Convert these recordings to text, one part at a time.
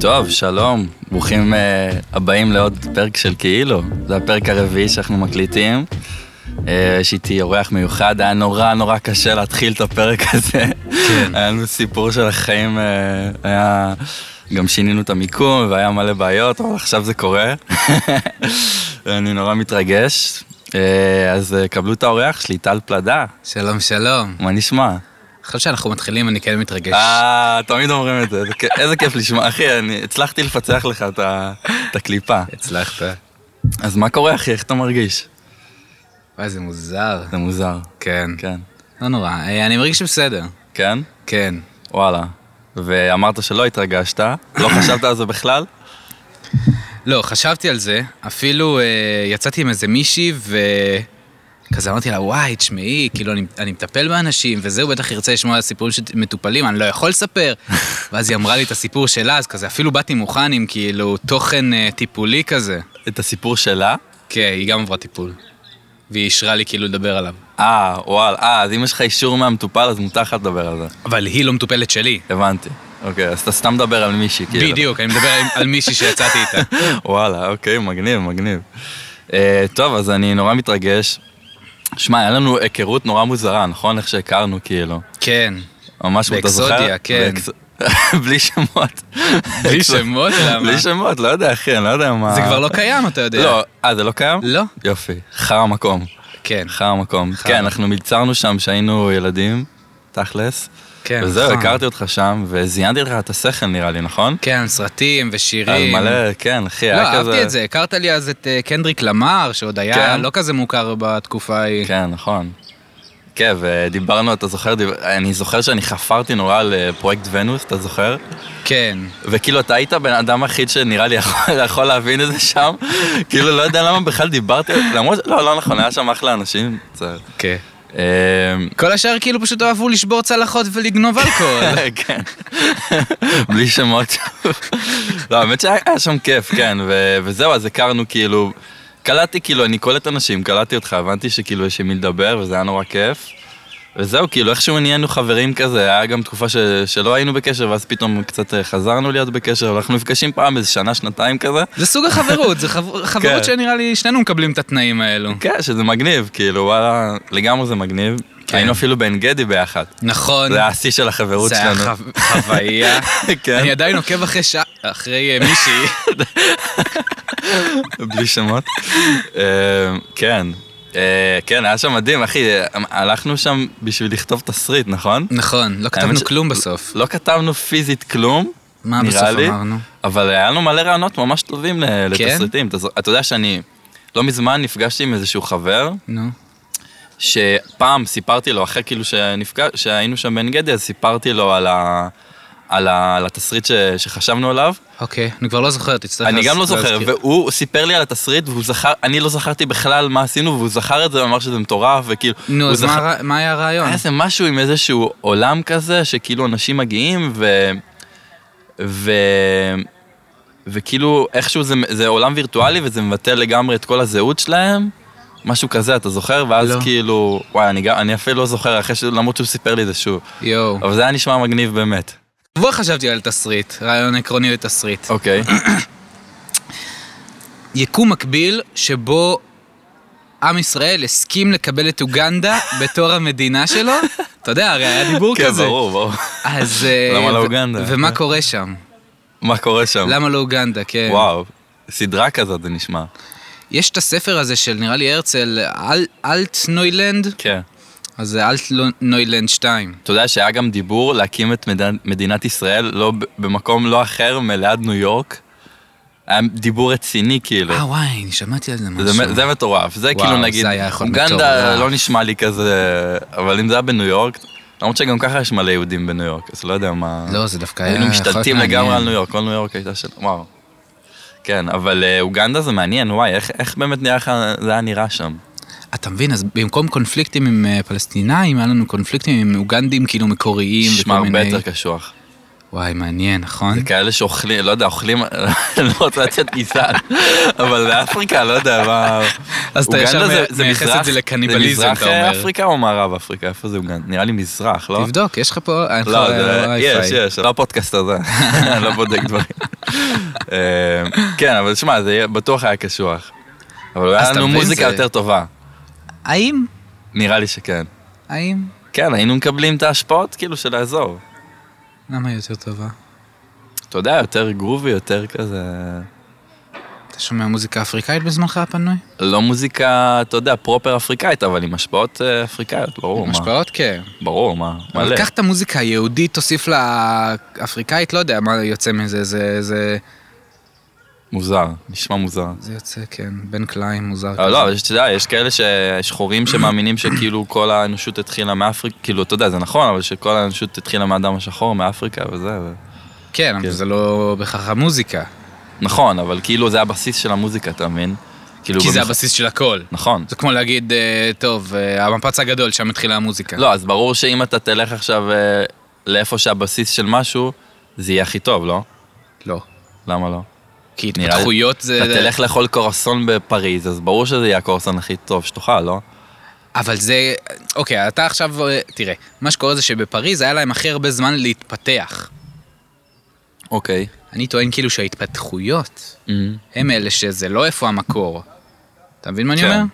טוב, שלום, ברוכים uh, הבאים לעוד פרק של כאילו. זה הפרק הרביעי שאנחנו מקליטים. אה, יש איתי אורח מיוחד, היה נורא נורא קשה להתחיל את הפרק הזה. כן. היה לנו סיפור של החיים, אה, היה... גם שינינו את המיקום והיה מלא בעיות, אבל עכשיו זה קורה. אני נורא מתרגש. אה, אז אה, קבלו את האורח שלי, טל פלדה, שלום, שלום. מה נשמע? עכשיו שאנחנו מתחילים, אני כן מתרגש. אה, תמיד אומרים את זה, איזה כיף- איזה כיף לשמוע. אחי, אני הצלחתי לפצח לך את ה- את הקליפה. הצלחת. אז מה קורה, אחי? איך אתה מרגיש? וואי, זה מוזר. זה מוזר. כן. כן. לא נורא. אה, אני מרגיש שבסדר. כן? כן. וואלה. ואמרת שלא התרגשת, לא חשבת על זה בכלל? לא, חשבתי על זה. אפילו אה, יצאתי עם איזה מישהי, וכזה אמרתי לה, וואי, תשמעי, כאילו, אני, אני מטפל באנשים, וזה, הוא בטח ירצה לשמוע על סיפורים של מטופלים, אני לא יכול לספר. ואז היא אמרה לי את הסיפור שלה, אז כזה, אפילו באתי מוכן עם כאילו תוכן אה, טיפולי כזה. את הסיפור שלה? כן, היא גם עברה טיפול. והיא אישרה לי כאילו לדבר עליו. אה, וואלה, אה, אז אם יש לך אישור מהמטופל, אז מותר לך לדבר על זה. אבל היא לא מטופלת שלי. הבנתי. אוקיי, אז אתה סתם מדבר על מישהי, כאילו. בדיוק, אני מדבר על- על מישהי שיצאתי איתה. וואלה, אוקיי, מגניב, מגניב. Uh, טוב, אז אני נורא מתרגש. שמע, היה לנו היכרות נורא מוזרה, נכון? איך שהכרנו, כאילו. כן. ממש, אתה זוכר? באקסודיה, כן. באקס- בלי שמות. בלי שמות, למה? בלי שמות, לא יודע, אחי, אני לא יודע מה... זה כבר לא קיים, אתה יודע. לא, אה, זה לא קיים? לא. יופי, חרא המקום. כן. חרא המקום. חרא. כן, אנחנו מלצרנו שם כשהיינו ילדים, תכלס. כן, וזהו, נכון. הכרתי אותך שם, וזיינתי לך את השכל נראה לי, נכון? כן, סרטים על ושירים. מלא, כן, אחי, לא, היה כזה... אהבתי את זה. הכרת לי אז את אה, קנדריק למר, שעוד היה כן. לא כזה מוכר בתקופה ההיא. כן, נכון. כן, ודיברנו, אתה זוכר, דיב- אני זוכר שאני חפרתי נורא על אה, פרויקט ונוס, אתה זוכר? כן. וכאילו, אתה היית בן אדם היחיד שנראה לי יכול, יכול להבין את זה שם. כאילו, לא יודע למה בכלל דיברתי, למרות, ש- לא, לא נכון, היה שם אחלה אנשים. בסדר. כן. אמ, כל השאר כאילו פשוט אהבו לשבור צלחות ולגנוב אלכוהול. כן. בלי שמות. לא, האמת שהיה היה שם כיף, כן, ו- וזהו, אז הכרנו כאילו, קלטתי כאילו, אני קולט אנשים, קלטתי אותך, הבנתי שכאילו יש עם מי לדבר, וזה היה נורא כיף. וזהו, כאילו, איכשהו נהיינו חברים כזה, היה גם תקופה ש- שלא היינו בקשר, ואז פתאום קצת אה, חזרנו להיות בקשר, אבל אנחנו נפגשים פעם איזה שנה, שנתיים כזה. זה סוג החברות, זה חב- חברות שנראה לי שנינו מקבלים את התנאים האלו. כן, שזה מגניב, כאילו, וואלה, לגמרי זה מגניב. כן. היינו אפילו בעין גדי ביחד. נכון. זה היה השיא של החברות זה היה שלנו. חו- חוויה. כן. אני עדיין עוקב אחרי שעה, אחרי אה, מישהי. בלי שמות. אה, כן. אה, כן, היה שם מדהים, אחי, הלכנו שם בשביל לכתוב תסריט, נכון? נכון, לא האמת כתבנו ש- כלום בסוף. לא כתבנו פיזית כלום, מה נראה אה, בסוף לי, אמרנו? אבל היה לנו מלא רעיונות ממש טובים ל- כן? לתסריטים. אתה זו- אתה יודע שאני לא מזמן נפגשתי עם איזשהו חבר, נו. שפעם סיפרתי לו, אחרי כאילו שנפגש, שהיינו שם בעין גדי, אז סיפרתי לו על ה... על, ה, על התסריט ש, שחשבנו עליו, אוקיי, אני כבר לא זוכר, תצטרך אני להז- גם לא זוכר, להזכיר. והוא סיפר לי על התסריט, והוא זכר, אני לא זכרתי בכלל מה עשינו, והוא זכר את זה, ואמר שזה מטורף, וכאילו... נו, הוא אז מה זכר- הר- מה היה הרעיון? היה איזה משהו עם איזשהו עולם כזה, שכאילו אנשים מגיעים, ו... ו... וכאילו איכשהו זה, זה עולם וירטואלי וזה מבטל לגמרי את כל הזהות שלהם, משהו כזה, אתה זוכר? ואז לא. כאילו, וואי, אני, גם- אני אפילו לא זוכר, אחרי ש... למרות שהוא סיפר לי את זה שוב. יואו. אבל זה היה נשמע מגניב באמת. כבר חשבתי על תסריט, רעיון עקרוני לתסריט. אוקיי, יקום מקביל שבו עם ישראל הסכים לקבל את אוגנדה בתור המדינה שלו. אתה יודע, הרי היה דיבור כן, כזה. ברור, ברור. אז... אה, למה לא ו- אוגנדה? ומה קורה שם? מה קורה שם? למה לא אוגנדה, כן. וואו, סדרה כזאת זה נשמע. יש את הספר הזה של נראה לי הרצל, אל- אלטנוילנד, כן. אז זה אלטנוילנד 2. אתה יודע שהיה גם דיבור להקים את מד- מדינת ישראל לא ב- במקום לא אחר מליד ניו יורק. היה דיבור רציני כאילו. אה וואי, אני שמעתי על זה זה, משהו. מ- זה מטורף, זה וואו, כאילו זה נגיד, היה יכול להיות אוגנדה מטורף. לא נשמע לי כזה, אבל אם זה היה בניו יורק, למרות שגם ככה יש מלא יהודים בניו יורק, אז לא יודע מה... לא, זה דווקא היה... היינו יכול להיות משתלטים מעניין. לגמרי על ניו יורק, כל ניו יורק הייתה של... וואו. כן, אבל אה, אוגנדה זה מעניין, וואי, איך, איך באמת נראה לך, זה היה נראה שם. אתה מבין, אז במקום קונפליקטים עם אה, פלסטינאים, היה לנו קונפליקטים עם אוגנדים כאילו מקוריים נשמע הרבה יותר קשוח. וואי, מעניין, נכון? זה כאלה שאוכלים, לא יודע, אוכלים, לא רוצה לתת גזען, אבל לאפריקה, לא יודע מה... אז אתה ישר אוגנדה זה- מ- זה מייחס את מזרח- זה לקניבליזם, זה מזרח אה, אתה אומר. אפריקה או מערב אפריקה? איפה זה אוגנדה? נראה לי מזרח, לא? תבדוק, יש לך פה... אה, אין לך לא, זה- Wi-Fi. יש, יש, לא הפודקאסט הזה, לא בודק דברים. אה, כן, אבל שמע, זה יהיה- בטוח היה קשוח. אבל אז היה אתה לנו מבין, מוזיקה זה- יותר טובה, האם? נראה לי שכן. האם? כן, היינו מקבלים את ההשפעות כאילו של האזור. למה היא יותר טובה? אתה יודע, יותר גרובי, יותר כזה... אתה שומע מוזיקה אפריקאית בזמנך הפנוי? לא מוזיקה, אתה יודע, פרופר אפריקאית, אבל עם השפעות אה, אפריקאיות, ברור, עם מה? השפעות? כן. ברור, מה? מלא. אבל קח את המוזיקה היהודית, תוסיף לה אפריקאית, לא יודע מה יוצא מזה, זה, זה, מוזר, נשמע מוזר. זה יוצא, כן, בן קליין מוזר. אבל כזה. לא, אבל שאתה יודע, יש כאלה שחורים שמאמינים שכאילו כל האנושות התחילה מאפריקה, כאילו, אתה יודע, זה נכון, אבל שכל האנושות התחילה מהאדם השחור, מאפריקה וזה. ו... כן, אבל כן. זה לא בהכרח המוזיקה, נכון, אבל כאילו זה הבסיס של המוזיקה, אתה מבין? כאילו, כי זה במח- הבסיס של הכל. נכון. זה כמו להגיד, אה, טוב, אה, המפץ הגדול, שם התחילה המוזיקה. לא, אז ברור שאם אתה תלך עכשיו אה, לאיפה שהבסיס של משהו, זה יהיה הכי טוב, לא? לא. למה לא? כי נראה לי- התפתחויות זה... אתה תלך לאכול קורסון בפריז, אז ברור שזה יהיה הקורסון הכי טוב שתאכל, לא? אבל זה, אוקיי, אתה עכשיו, אה, תראה, מה שקורה זה שבפריז היה להם הכי הרבה זמן להתפתח. אוקיי. אני טוען כאילו שההתפתחויות הם אלה שזה לא איפה המקור. אתה מבין מה אני כן, אומר? כן.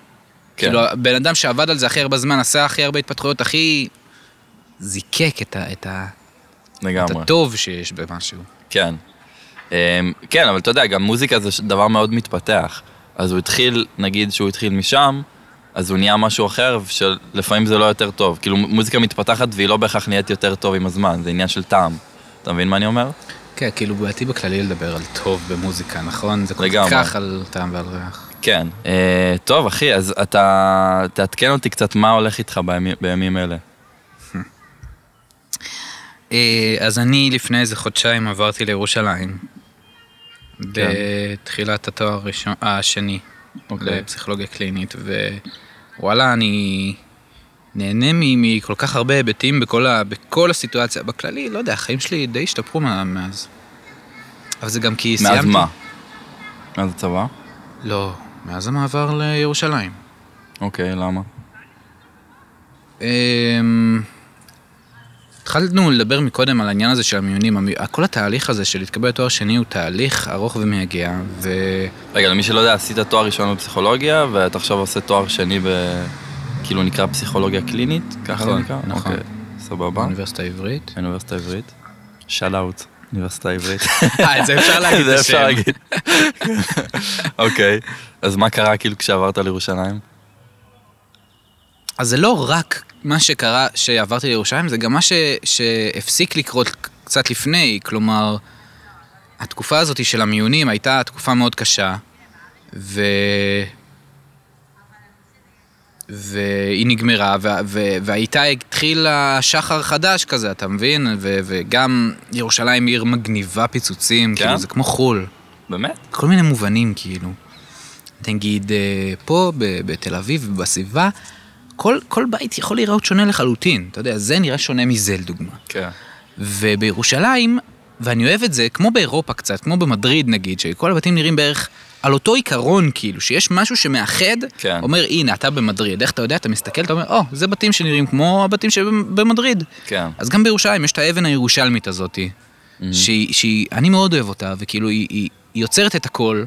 כאילו, הבן אדם שעבד על זה הכי הרבה זמן, עשה הכי הרבה התפתחויות, הכי זיקק את, ה, את, ה, את לגמרי. הטוב שיש במשהו. כן. אמ, כן, אבל אתה יודע, גם מוזיקה זה ש- דבר מאוד מתפתח. אז הוא התחיל, נגיד שהוא התחיל משם, אז הוא נהיה משהו אחר, שלפעמים זה לא יותר טוב. כאילו, מ- מוזיקה מתפתחת והיא לא בהכרח נהיית יותר טוב עם הזמן, זה עניין של טעם. אתה מבין מה אני אומר? כן, כאילו, בעייתי בכללי לדבר על טוב במוזיקה, נכון? זה כל לגמרי. כך על טעם ועל ריח. כן. אה, טוב, אחי, אז אתה... תעדכן אותי קצת מה הולך איתך בימים- בימים אלה. אה, אז אני לפני איזה חודשיים עברתי לירושלים. כן. בתחילת התואר הראשון, אה, השני, אוקיי. לפסיכולוגיה קלינית, ווואלה, אני נהנה מ- מכל כך הרבה היבטים בכל, ה, בכל הסיטואציה. בכללי, לא יודע, החיים שלי די השתפרו מה- מאז. אבל זה גם כי סיימתי... מאז מה? מאז הצבא? לא, מאז המעבר לירושלים. אוקיי, למה? אמ, התחלנו לדבר מקודם על העניין הזה של המיונים, המי- כל התהליך הזה של להתקבל לתואר שני הוא תהליך ארוך ומייגע, אה? וכן, רגע, למי שלא יודע, עשית תואר ראשון בפסיכולוגיה, ואתה עכשיו עושה תואר שני ב... כאילו נקרא פסיכולוגיה קלינית? ככה זה נכון, נקרא? נכון. אוקיי, סבבה. באוניברסיטה העברית. אוניברסיטה העברית. שאט אאוט, אוניברסיטה העברית. אה, זה אפשר להגיד זה את אפשר השם. להגיד. אוקיי, אז מה קרה כאילו כשעברת לירושלים? אז זה לא רק מה שקרה שעברתי לירושלים, זה גם מה ש, שהפסיק לקרות קצת לפני, כלומר, התקופה הזאת של המיונים הייתה תקופה מאוד קשה, ו... והיא נגמרה, ו- ו- והייתה התחילה שחר חדש כזה, אתה מבין? ו- וגם ירושלים עיר מגניבה פיצוצים, כן? כאילו זה כמו חול. באמת? כל מיני מובנים, כאילו. נגיד, אה, פה ב- בתל אביב ובסביבה, כל, כל בית יכול להיראות שונה לחלוטין. אתה יודע, זה נראה שונה מזה, לדוגמה. כן. ובירושלים, ואני אוהב את זה, כמו באירופה קצת, כמו במדריד נגיד, שכל הבתים נראים בערך על אותו עיקרון, כאילו, שיש משהו שמאחד, כן. אומר, הנה, אתה במדריד. איך אתה יודע? אתה מסתכל, אתה אומר, או, זה בתים שנראים כמו הבתים שבמדריד. כן. אז גם בירושלים יש את האבן הירושלמית הזאת, Mhm. שהיא, שהיא- אני מאוד אוהב אותה, וכאילו היא, היא, היא יוצרת את הכל,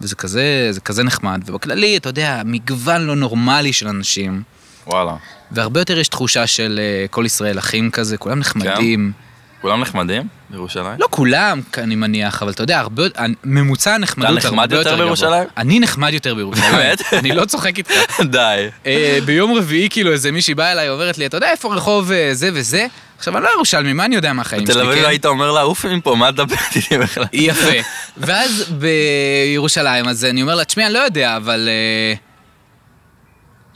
וזה כזה, זה כזה נחמד, ובכללי, אתה יודע, מגוון לא נורמלי של אנשים, וואלה. והרבה יותר יש תחושה של אה, כל ישראל אחים כזה, כולם נחמדים. כן. כולם נחמדים בירושלים? לא כולם, אני מניח, אבל אתה יודע, הרבה, אה, ממוצע הנחמדות הרבה אתה יותר נחמד גבוה. יותר בירושלים? אני נחמד יותר בירושלים. באמת? אני לא צוחק איתך. די. אה, ביום רביעי, כאילו, איזה מישהי באה אליי, אומרת לי, אתה יודע איפה רחוב אה, זה וזה? עכשיו, אני לא ירושלמי, מה אני יודע מהחיים שלי, בתל אביב לא כן? היית אומר לה, עוף מפה, מה את מדברת איתי בכלל? יפה. ואז בירושלים, אז אני אומר לה, תשמעי, אני לא יודע, אבל... אה,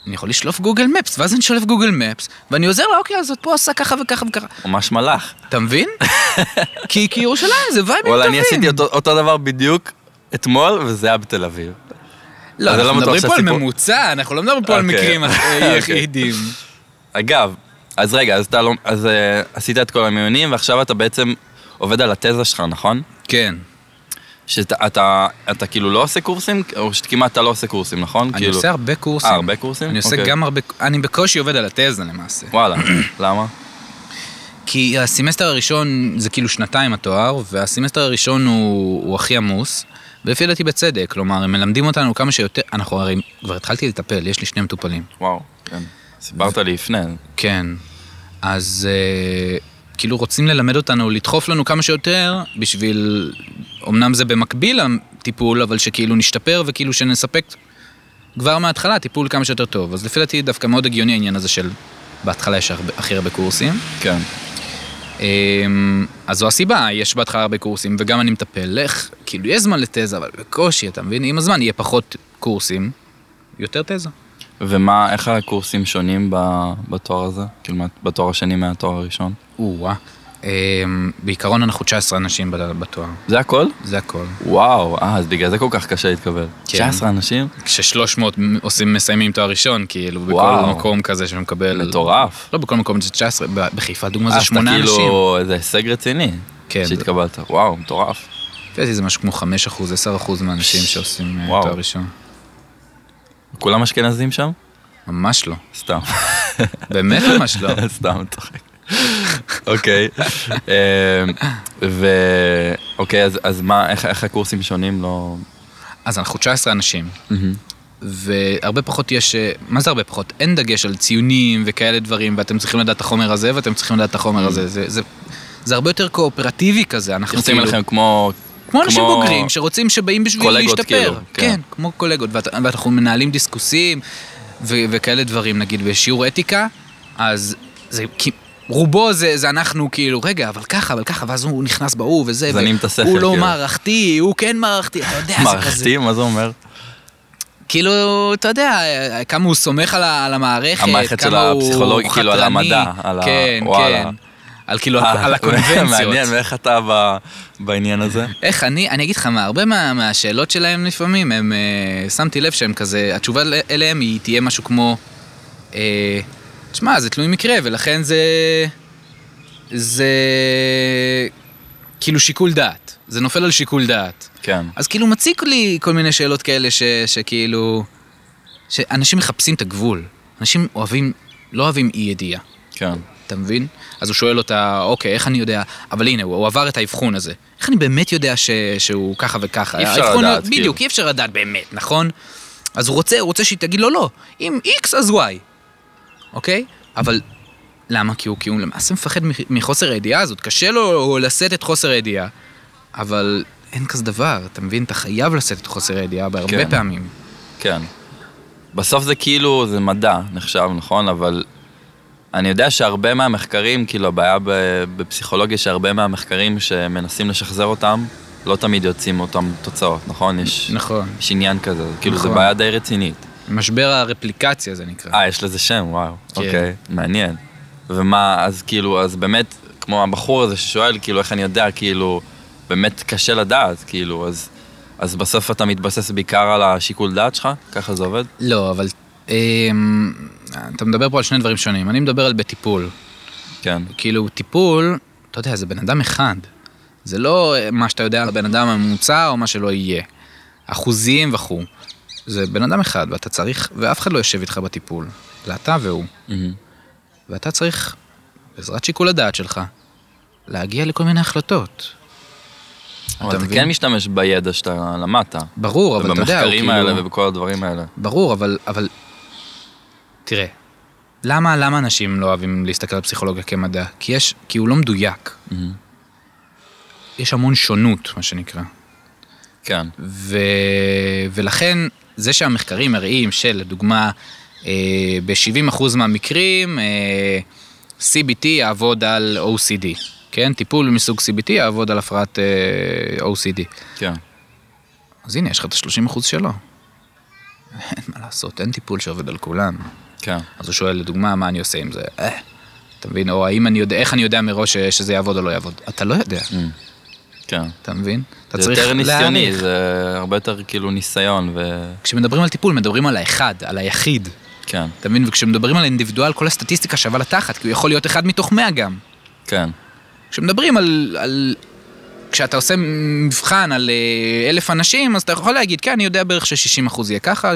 אני יכול לשלוף גוגל מפס, ואז אני שולף גוגל מפס, ואני עוזר לה, אוקיי, אז את פה עושה ככה וככה וככה. ממש מלאך. אתה מבין? כי כי ירושלים זה וייבים טובים. וואלה, אני עשיתי אותו- אותו דבר בדיוק אתמול, וזה היה בתל אביב. לא, אז אני לא אנחנו בטוח מדברים פה על שהסיפור- ממוצע, אנחנו לא מדברים פה על אוקיי. מקרים אה, אוקיי. יחידים. אגב, אז רגע, אז אתה לא... אז אה, עשית את כל המיונים, ועכשיו אתה בעצם עובד על התזה שלך, נכון? כן. שאתה אתה, אתה כאילו לא עושה קורסים, או שכמעט אתה לא עושה קורסים, נכון? אני כאילו... עושה הרבה קורסים. אה, הרבה קורסים? אני עושה אוקיי. גם הרבה... אני בקושי עובד על התזה למעשה. וואלה, למה? כי הסמסטר הראשון זה כאילו שנתיים התואר, והסמסטר הראשון הוא, הוא הכי עמוס, ולפי דעתי בצדק, כלומר, הם מלמדים אותנו כמה שיותר, אנחנו הרי כבר התחלתי לטפל, יש לי שני מטופלים. וואו, כן. סיפרת לי לפני. כן. אז אה, כאילו רוצים ללמד אותנו, לדחוף לנו כמה שיותר, בשביל, אמנם זה במקביל לטיפול, אבל שכאילו נשתפר וכאילו שנספק כבר מההתחלה טיפול כמה שיותר טוב. אז לפי דעתי דווקא מאוד הגיוני העניין הזה של בהתחלה יש הרבה- הכי הרבה קורסים. כן. אמ, אז זו הסיבה, יש בהתחלה הרבה קורסים, וגם אני מטפל. לך, כאילו, יש זמן לתזה, אבל בקושי, אתה מבין? עם הזמן יהיה פחות קורסים, יותר תזה. ומה, איך הקורסים שונים ב- בתואר הזה? כאילו, מה- בתואר השני מהתואר הראשון? או-אה. אמ, בעיקרון אנחנו 19 אנשים בת- בתואר, זה הכל? זה הכל. וואו, אה, אז בגלל זה כל כך קשה להתקבל. כן. 19 אנשים? כש-300 עושים, מסיימים תואר ראשון, כאילו, בכל וואו. מקום כזה שמקבל... מטורף. לא בכל מקום זה 19, ב- בחיפה דוגמה אה, זה 8 אז אתה אנשים. כאילו, זה הישג רציני. כן, זה- שהתקבלת. וואו, מטורף. לפי דעתי זה משהו כמו 5 אחוז, 10 אחוז מהאנשים שעושים אה, וואו. תואר ראשון. כולם אשכנזים שם? ממש לא. סתם, באמת ממש לא. סתם, צוחק. אוקיי. אה, ו... אוקיי, אז- אז מה, איך- איך הקורסים שונים? לא... אז אנחנו 19 אנשים, והרבה פחות יש, אה, מה זה הרבה פחות? אין דגש על ציונים וכאלה דברים, ואתם צריכים לדעת את החומר הזה, ואתם צריכים לדעת את החומר הזה. זה, זה, זה הרבה יותר קואופרטיבי כזה, אנחנו כאילו יוצאים אליכם כמו... כמו אנשים בוגרים שרוצים, שבאים בשביל קולגות, להשתפר. כאילו, כן. כן. כן, כמו קולגות, ואת, ואנחנו מנהלים דיסקוסים ו, וכאלה דברים, נגיד בשיעור אתיקה, אז זה כי... רובו זה, זה אנחנו כאילו, רגע, אבל ככה, אבל ככה, ואז הוא נכנס בהוא וזה, מזנים את השכל, הוא לא כאילו. מערכתי, הוא כן מערכתי, אתה יודע, זה כזה. מערכתי, מה זה אומר? כאילו, אתה יודע, כמה הוא סומך על ה- על המערכת, המערכת של כמה הוא הפסיכולוג, כאילו, על חתרני. המדע, על ה- כן, וואלה. כן. על כאילו, אה, על הקונבנציות. מעניין, ואיך אתה ב- בעניין הזה? איך אני, אני אגיד לך מה, הרבה מה, מהשאלות שלהם לפעמים, הם, אה, שמתי לב שהם כזה, התשובה ל- אליהם היא תהיה משהו כמו, אה, תשמע, זה תלוי מקרה, ולכן זה, זה כאילו שיקול דעת, זה נופל על שיקול דעת. כן. אז כאילו מציק לי כל מיני שאלות כאלה ש, שכאילו... שאנשים מחפשים את הגבול. אנשים אוהבים, לא אוהבים אי ידיעה, כן. אתה מבין? אז הוא שואל אותה, אוקיי, איך אני יודע? אבל הנה, הוא, הוא עבר את האבחון הזה. איך אני באמת יודע ש, שהוא ככה וככה? אי אפשר האבחון לדעת, לא, בדיוק, כאילו. אי אפשר לדעת באמת, נכון? אז הוא רוצה, הוא רוצה שהיא תגיד לו לא. אם X אז Y, אוקיי? אבל למה? כי הוא, כי הוא למעשה מפחד מח- מחוסר הידיעה הזאת. קשה לו לשאת את חוסר הידיעה. אבל אין כזה דבר, אתה מבין? אתה חייב לשאת את חוסר הידיעה בהרבה כן. פעמים. כן. בסוף זה כאילו, זה מדע נחשב, נכון? אבל אני יודע שהרבה מהמחקרים, כאילו הבעיה ב- בפסיכולוגיה, שהרבה מהמחקרים שמנסים לשחזר אותם, לא תמיד יוצאים אותם תוצאות, נכון? יש, נכון. יש עניין כזה, כאילו נכון. זו בעיה די רצינית. משבר הרפליקציה זה נקרא. אה, יש לזה שם, וואו. כן. אוקיי, מעניין. ומה, אז כאילו, אז באמת, כמו הבחור הזה ששואל, כאילו, איך אני יודע, כאילו, באמת קשה לדעת, כאילו, אז, אז בסוף אתה מתבסס בעיקר על השיקול דעת שלך? ככה זה עובד? לא, אבל... אמ, אתה מדבר פה על שני דברים שונים. אני מדבר על בטיפול. כן. כאילו, טיפול, אתה יודע, זה בן אדם אחד. זה לא אה, מה שאתה יודע על הבן אדם הממוצע או מה שלא יהיה. אחוזים וכו'. זה בן אדם אחד, ואתה צריך, ואף אחד לא יושב איתך בטיפול. זה אתה והוא. מהמם. ואתה צריך, בעזרת שיקול הדעת שלך, להגיע לכל מיני החלטות. אבל אתה מבין? כן משתמש בידע שאתה למדת. ברור, אבל אתה יודע, הוא ובמחקרים כאילו... האלה ובכל הדברים האלה. ברור, אבל, אבל... תראה, למה, למה אנשים לא אוהבים להסתכל על פסיכולוגיה כמדע? כי יש, כי הוא לא מדויק. מהמם. יש המון שונות, מה שנקרא. כן. ו... ולכן, זה שהמחקרים מראים שלדוגמה, אה, ב-70% מהמקרים, אה, CBT יעבוד על OCD, כן? טיפול מסוג CBT יעבוד על הפרעת אה, OCD. כן. אז הנה, יש לך את ה-30% שלו. אין מה לעשות, אין טיפול שעובד על כולם. כן. אז הוא שואל, לדוגמה, מה אני עושה עם זה? אה, אתה מבין? או האם אני יודע, איך אני יודע מראש ש- שזה יעבוד או לא יעבוד? אתה לא יודע, כן. אתה מבין? אתה זה צריך יותר ניסיוני, להעריך. זה הרבה יותר כאילו ניסיון ו... כשמדברים על טיפול, מדברים על האחד, על היחיד. כן. אתה מבין? וכשמדברים על אינדיבידואל, כל הסטטיסטיקה שווה לתחת, כי הוא יכול להיות אחד מתוך מאה גם. כן. כשמדברים על, על כשאתה עושה מבחן על אה, אלף אנשים, אז אתה יכול להגיד, כן, אני יודע בערך ש-60% יהיה ככה,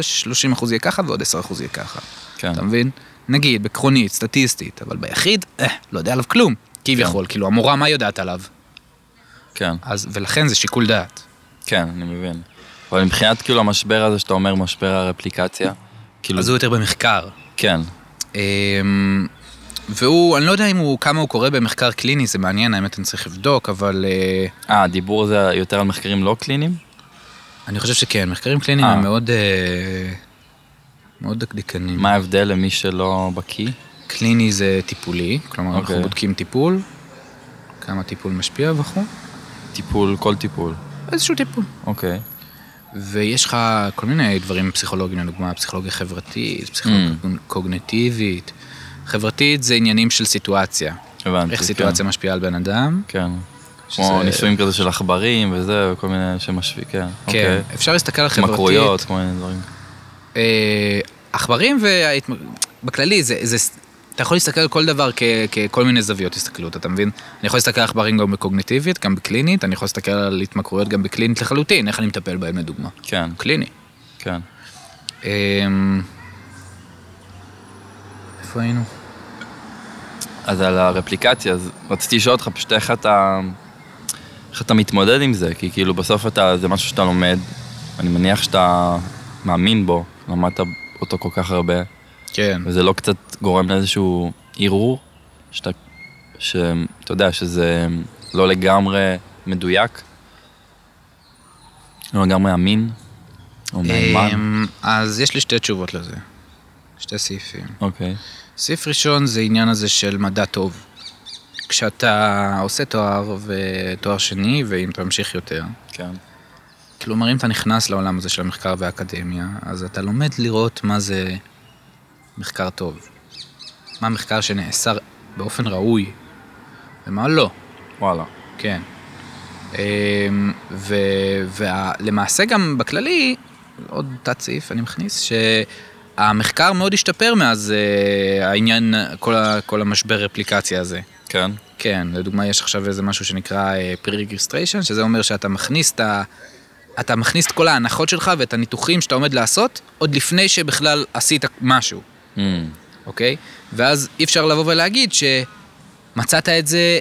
30% יהיה ככה ועוד 10% יהיה ככה. כן. אתה מבין? נגיד, עקרונית, סטטיסטית, אבל ביחיד, אה, לא יודע עליו כלום, כביכול. כאילו, המורה, מה יודעת עליו? כן, אז, ולכן זה שיקול דעת. כן, אני מבין. אבל מבחינת כאילו המשבר הזה שאתה אומר, משבר הרפליקציה, כאילו, אז הוא יותר במחקר. כן, אמ, והוא, אני לא יודע אם הוא, כמה הוא קורא במחקר קליני, זה מעניין, האמת אני צריך לבדוק, אבל אה, אה, הדיבור הזה יותר על מחקרים לא קליניים? אני חושב שכן, מחקרים קליניים אה. הם מאוד, אה, מאוד דקדקנים. מה ההבדל למי שלא בקיא? קליני זה טיפולי, כלומר אנחנו אוקיי. בודקים טיפול, כמה טיפול משפיע וכו', טיפול, כל טיפול. איזשהו טיפול. אוקיי. ויש לך כל מיני דברים פסיכולוגיים, לדוגמה פסיכולוגיה חברתית, פסיכולוגיה Mm. קוגנטיבית. חברתית זה עניינים של סיטואציה. הבנתי. איך כן. סיטואציה משפיעה על בן אדם. כן. כמו שזה- ניסויים כזה של עכברים וזה, וכל מיני שמשווים, כן. כן, אוקיי. אפשר להסתכל על חברתית. התמכרויות, כל מיני דברים. אה, עכברים וההתמ... בכללי, זה, זה... אתה יכול להסתכל על כל דבר כ, ככל מיני זוויות הסתכלות, אתה מבין? אני יכול להסתכל על עכברים גם בקוגניטיבית, גם בקלינית, אני יכול להסתכל על התמכרויות גם בקלינית לחלוטין, איך אני מטפל בהם לדוגמה. כן, קליני. כן. אמ, איפה היינו? אז על הרפליקציה, אז רציתי לשאול אותך פשוט איך אתה... איך אתה מתמודד עם זה? כי כאילו בסוף אתה, זה משהו שאתה לומד, אני מניח שאתה מאמין בו, למדת אותו כל כך הרבה, כן. וזה לא קצת גורם לאיזשהו ערעור, שאתה, שאתה יודע שזה לא לגמרי מדויק, לא לגמרי אמין, או מהימן, אמ, אז יש לי שתי תשובות לזה. שתי סעיפים. אוקיי, סעיף ראשון זה עניין הזה של מדע טוב. כשאתה עושה תואר ותואר שני, ואם תמשיך יותר, כן, כלומר, אם אתה נכנס לעולם הזה של המחקר והאקדמיה, אז אתה לומד לראות מה זה מחקר טוב. מה מחקר שנעשה באופן ראוי, ומה לא, וואלה, כן. אמ, ו- ולמעשה גם בכללי, עוד תת סעיף אני מכניס, שהמחקר מאוד השתפר מאז אה, העניין, כל, ה- כל המשבר אפליקציה הזה. כן, כן, לדוגמה יש עכשיו איזה משהו שנקרא אה, pre-registration, שזה אומר שאתה מכניס את ה... אתה מכניס את כל ההנחות שלך ואת הניתוחים שאתה עומד לעשות, עוד לפני שבכלל עשית משהו, Mm, אוקיי? ואז אי אפשר לבוא ולהגיד שמצאת את זה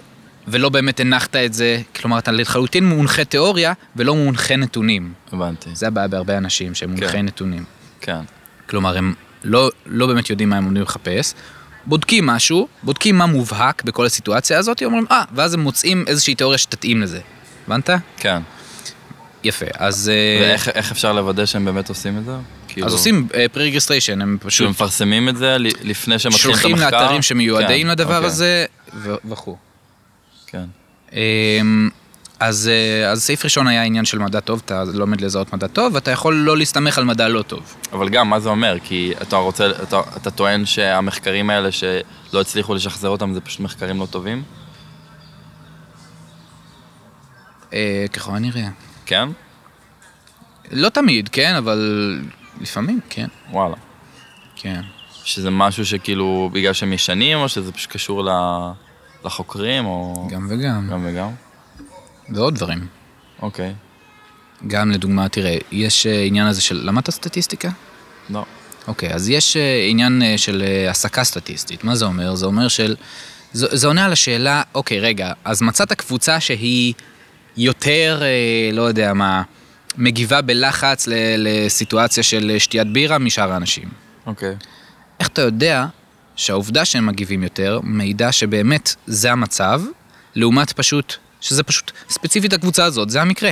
ולא באמת הנחת את זה, כלומר אתה לחלוטין מונחה תיאוריה ולא מונחה נתונים. הבנתי, זה הבעיה בהרבה אנשים שהם מונחי כן. נתונים. כן, כלומר, הם לא, לא באמת יודעים מה הם עומדים לחפש, בודקים משהו, בודקים מה מובהק בכל הסיטואציה הזאת, אומרים, אה, ואז הם מוצאים איזושהי תיאוריה שתתאים לזה. הבנת? כן. יפה, אז... אה, ואיך איך אפשר לוודא שהם באמת עושים את זה? כאילו, אז עושים פרי-רגיסטריישן, הם כאילו פשוט מפרסמים את זה ל- לפני שמתחילים את המחקר? שולחים לאתרים שמיועדים כן, לדבר אוקיי, הזה, ו- וכו'. כן, אמ, אז, אה, אז סעיף ראשון היה עניין של מדע טוב, אתה לומד לזהות מדע טוב, ואתה יכול לא להסתמך על מדע לא טוב. אבל גם, מה זה אומר? כי אתה רוצה, אתה, אתה טוען שהמחקרים האלה שלא הצליחו לשחזר אותם זה פשוט מחקרים לא טובים? אה, ככל הנראה. כן? לא תמיד, כן, אבל לפעמים, כן, וואלה. כן. שזה משהו שכאילו, בגלל שהם ישנים, או שזה פשוט קשור ל- לחוקרים, או... גם וגם. גם וגם? ועוד דברים. אוקיי. גם לדוגמה, תראה, יש אה, עניין הזה של... למדת סטטיסטיקה? לא. אוקיי, אז יש אה, עניין אה, של אה, הסקה סטטיסטית. מה זה אומר? זה אומר של... זה, זה עונה על השאלה, אוקיי, רגע, אז מצאת קבוצה שהיא יותר, אה, לא יודע מה, מגיבה בלחץ ל, לסיטואציה של אה, שתיית בירה משאר האנשים. אוקיי. איך אתה יודע שהעובדה שהם מגיבים יותר מעידה שבאמת זה המצב, לעומת פשוט, שזה פשוט ספציפית הקבוצה הזאת, זה המקרה,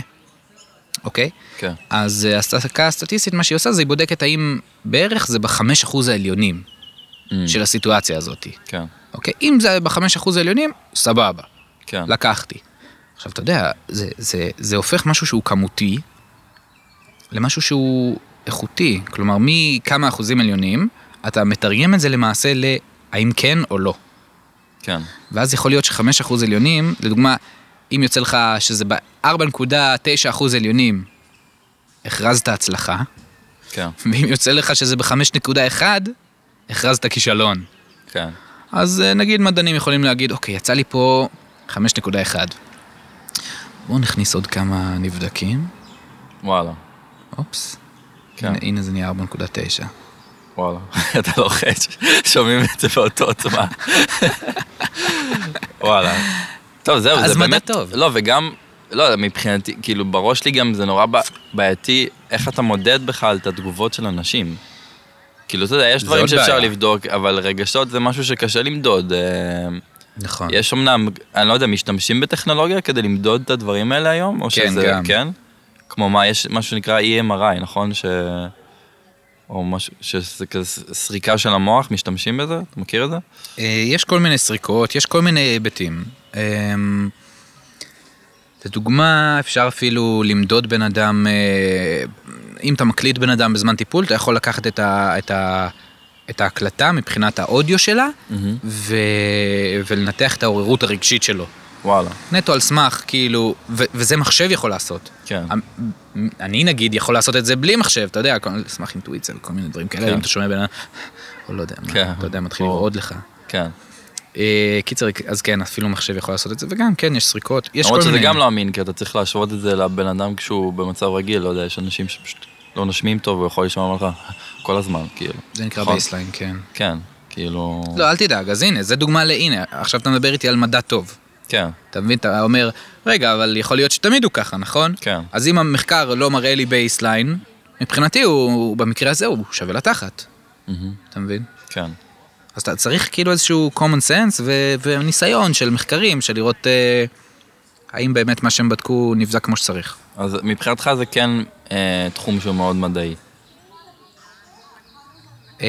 אוקיי? כן. אז אה, ההסקה הסטטיסטית, מה שהיא עושה זה היא בודקת האם בערך זה בחמש אחוז העליונים Mm, של הסיטואציה הזאת, כן. אוקיי? אם זה בחמש אחוז העליונים, סבבה, כן. לקחתי. עכשיו, אתה יודע, זה, זה, זה הופך משהו שהוא כמותי למשהו שהוא איכותי. כלומר, מכמה אחוזים עליונים, אתה מתרגם את זה למעשה להאם כן או לא. כן. ואז יכול להיות שחמש אחוז עליונים, לדוגמה, אם יוצא לך שזה ב-4.9 אחוז עליונים, הכרזת הצלחה, כן. ואם יוצא לך שזה ב-5.1, הכרזת כישלון. כן. אז אה, נגיד מדענים יכולים להגיד, אוקיי, יצא לי פה 5.1. בואו נכניס עוד כמה נבדקים. וואלה, אופס. כן. הנה, הנה זה נהיה 4.9. וואלה. אתה לוחץ, שומעים את זה באותו עוצמה. וואלה. טוב, זהו, אז זה מדע באמת... טוב. לא, וגם, לא, מבחינתי, כאילו, בראש לי גם זה נורא ב- בעייתי, איך אתה מודד בכלל את התגובות של אנשים. כאילו, אתה יודע, יש זה דברים עוד שאפשר בעיה. לבדוק, אבל רגשות זה משהו שקשה למדוד. אה, נכון. יש אמנם, אני לא יודע, משתמשים בטכנולוגיה כדי למדוד את הדברים האלה היום? או כן, שזה, גם. כן? כמו מה, יש משהו שנקרא EMRI, נכון? ש... או משהו, שזה כזה סריקה של המוח, משתמשים בזה? אתה מכיר את זה? אה, יש כל מיני סריקות, יש כל מיני היבטים. אמ, לדוגמה, אפשר אפילו למדוד בן אדם, אה, אם אתה מקליט בן אדם בזמן טיפול, אתה יכול לקחת את, ה, את, ה, את ההקלטה מבחינת האודיו שלה, ו, ולנתח את העוררות הרגשית שלו. וואלה, נטו על סמך, כאילו, ו, וזה מחשב יכול לעשות. כן. המ- אני נגיד יכול לעשות את זה בלי מחשב, אתה יודע, כל- על סמך אינטואיציה וכל מיני דברים כאלה, כן. אם אתה שומע בן אדם, או לא יודע, מה, כן, אתה יודע, מתחיל ברור. לרעוד לך. כן. אה, קיצר, אז כן, אפילו מחשב יכול לעשות את זה, וגם, כן, יש סריקות, יש כל למרות מיני... שזה גם לא אמין, כי אתה צריך להשוות את זה לבן אדם כשהוא במצב רגיל, לא יודע, יש אנשים שפשוט לא נושמים טוב, הוא יכול לשמוע לך כל הזמן, כאילו. זה נקרא נכון. בייסליין, כן. כן, כאילו... לא, אל תדאג, אז הנה, זה דוגמה להנה, עכשיו אתה מדבר איתי על מדע טוב. כן, אתה מבין, אתה אומר, רגע, אבל יכול להיות שתמיד הוא ככה, נכון? כן. אז אם המחקר לא מראה לי בייסליין, מבחינתי הוא, הוא- במקרה הזה, הוא שווה לתחת, מהמם, אתה מבין? כן. אז אתה צריך כאילו איזשהו common sense ו- וניסיון של מחקרים, של לראות אה, האם באמת מה שהם בדקו נבדק כמו שצריך. אז מבחינתך זה כן אה, תחום שהוא מאוד מדעי. אה,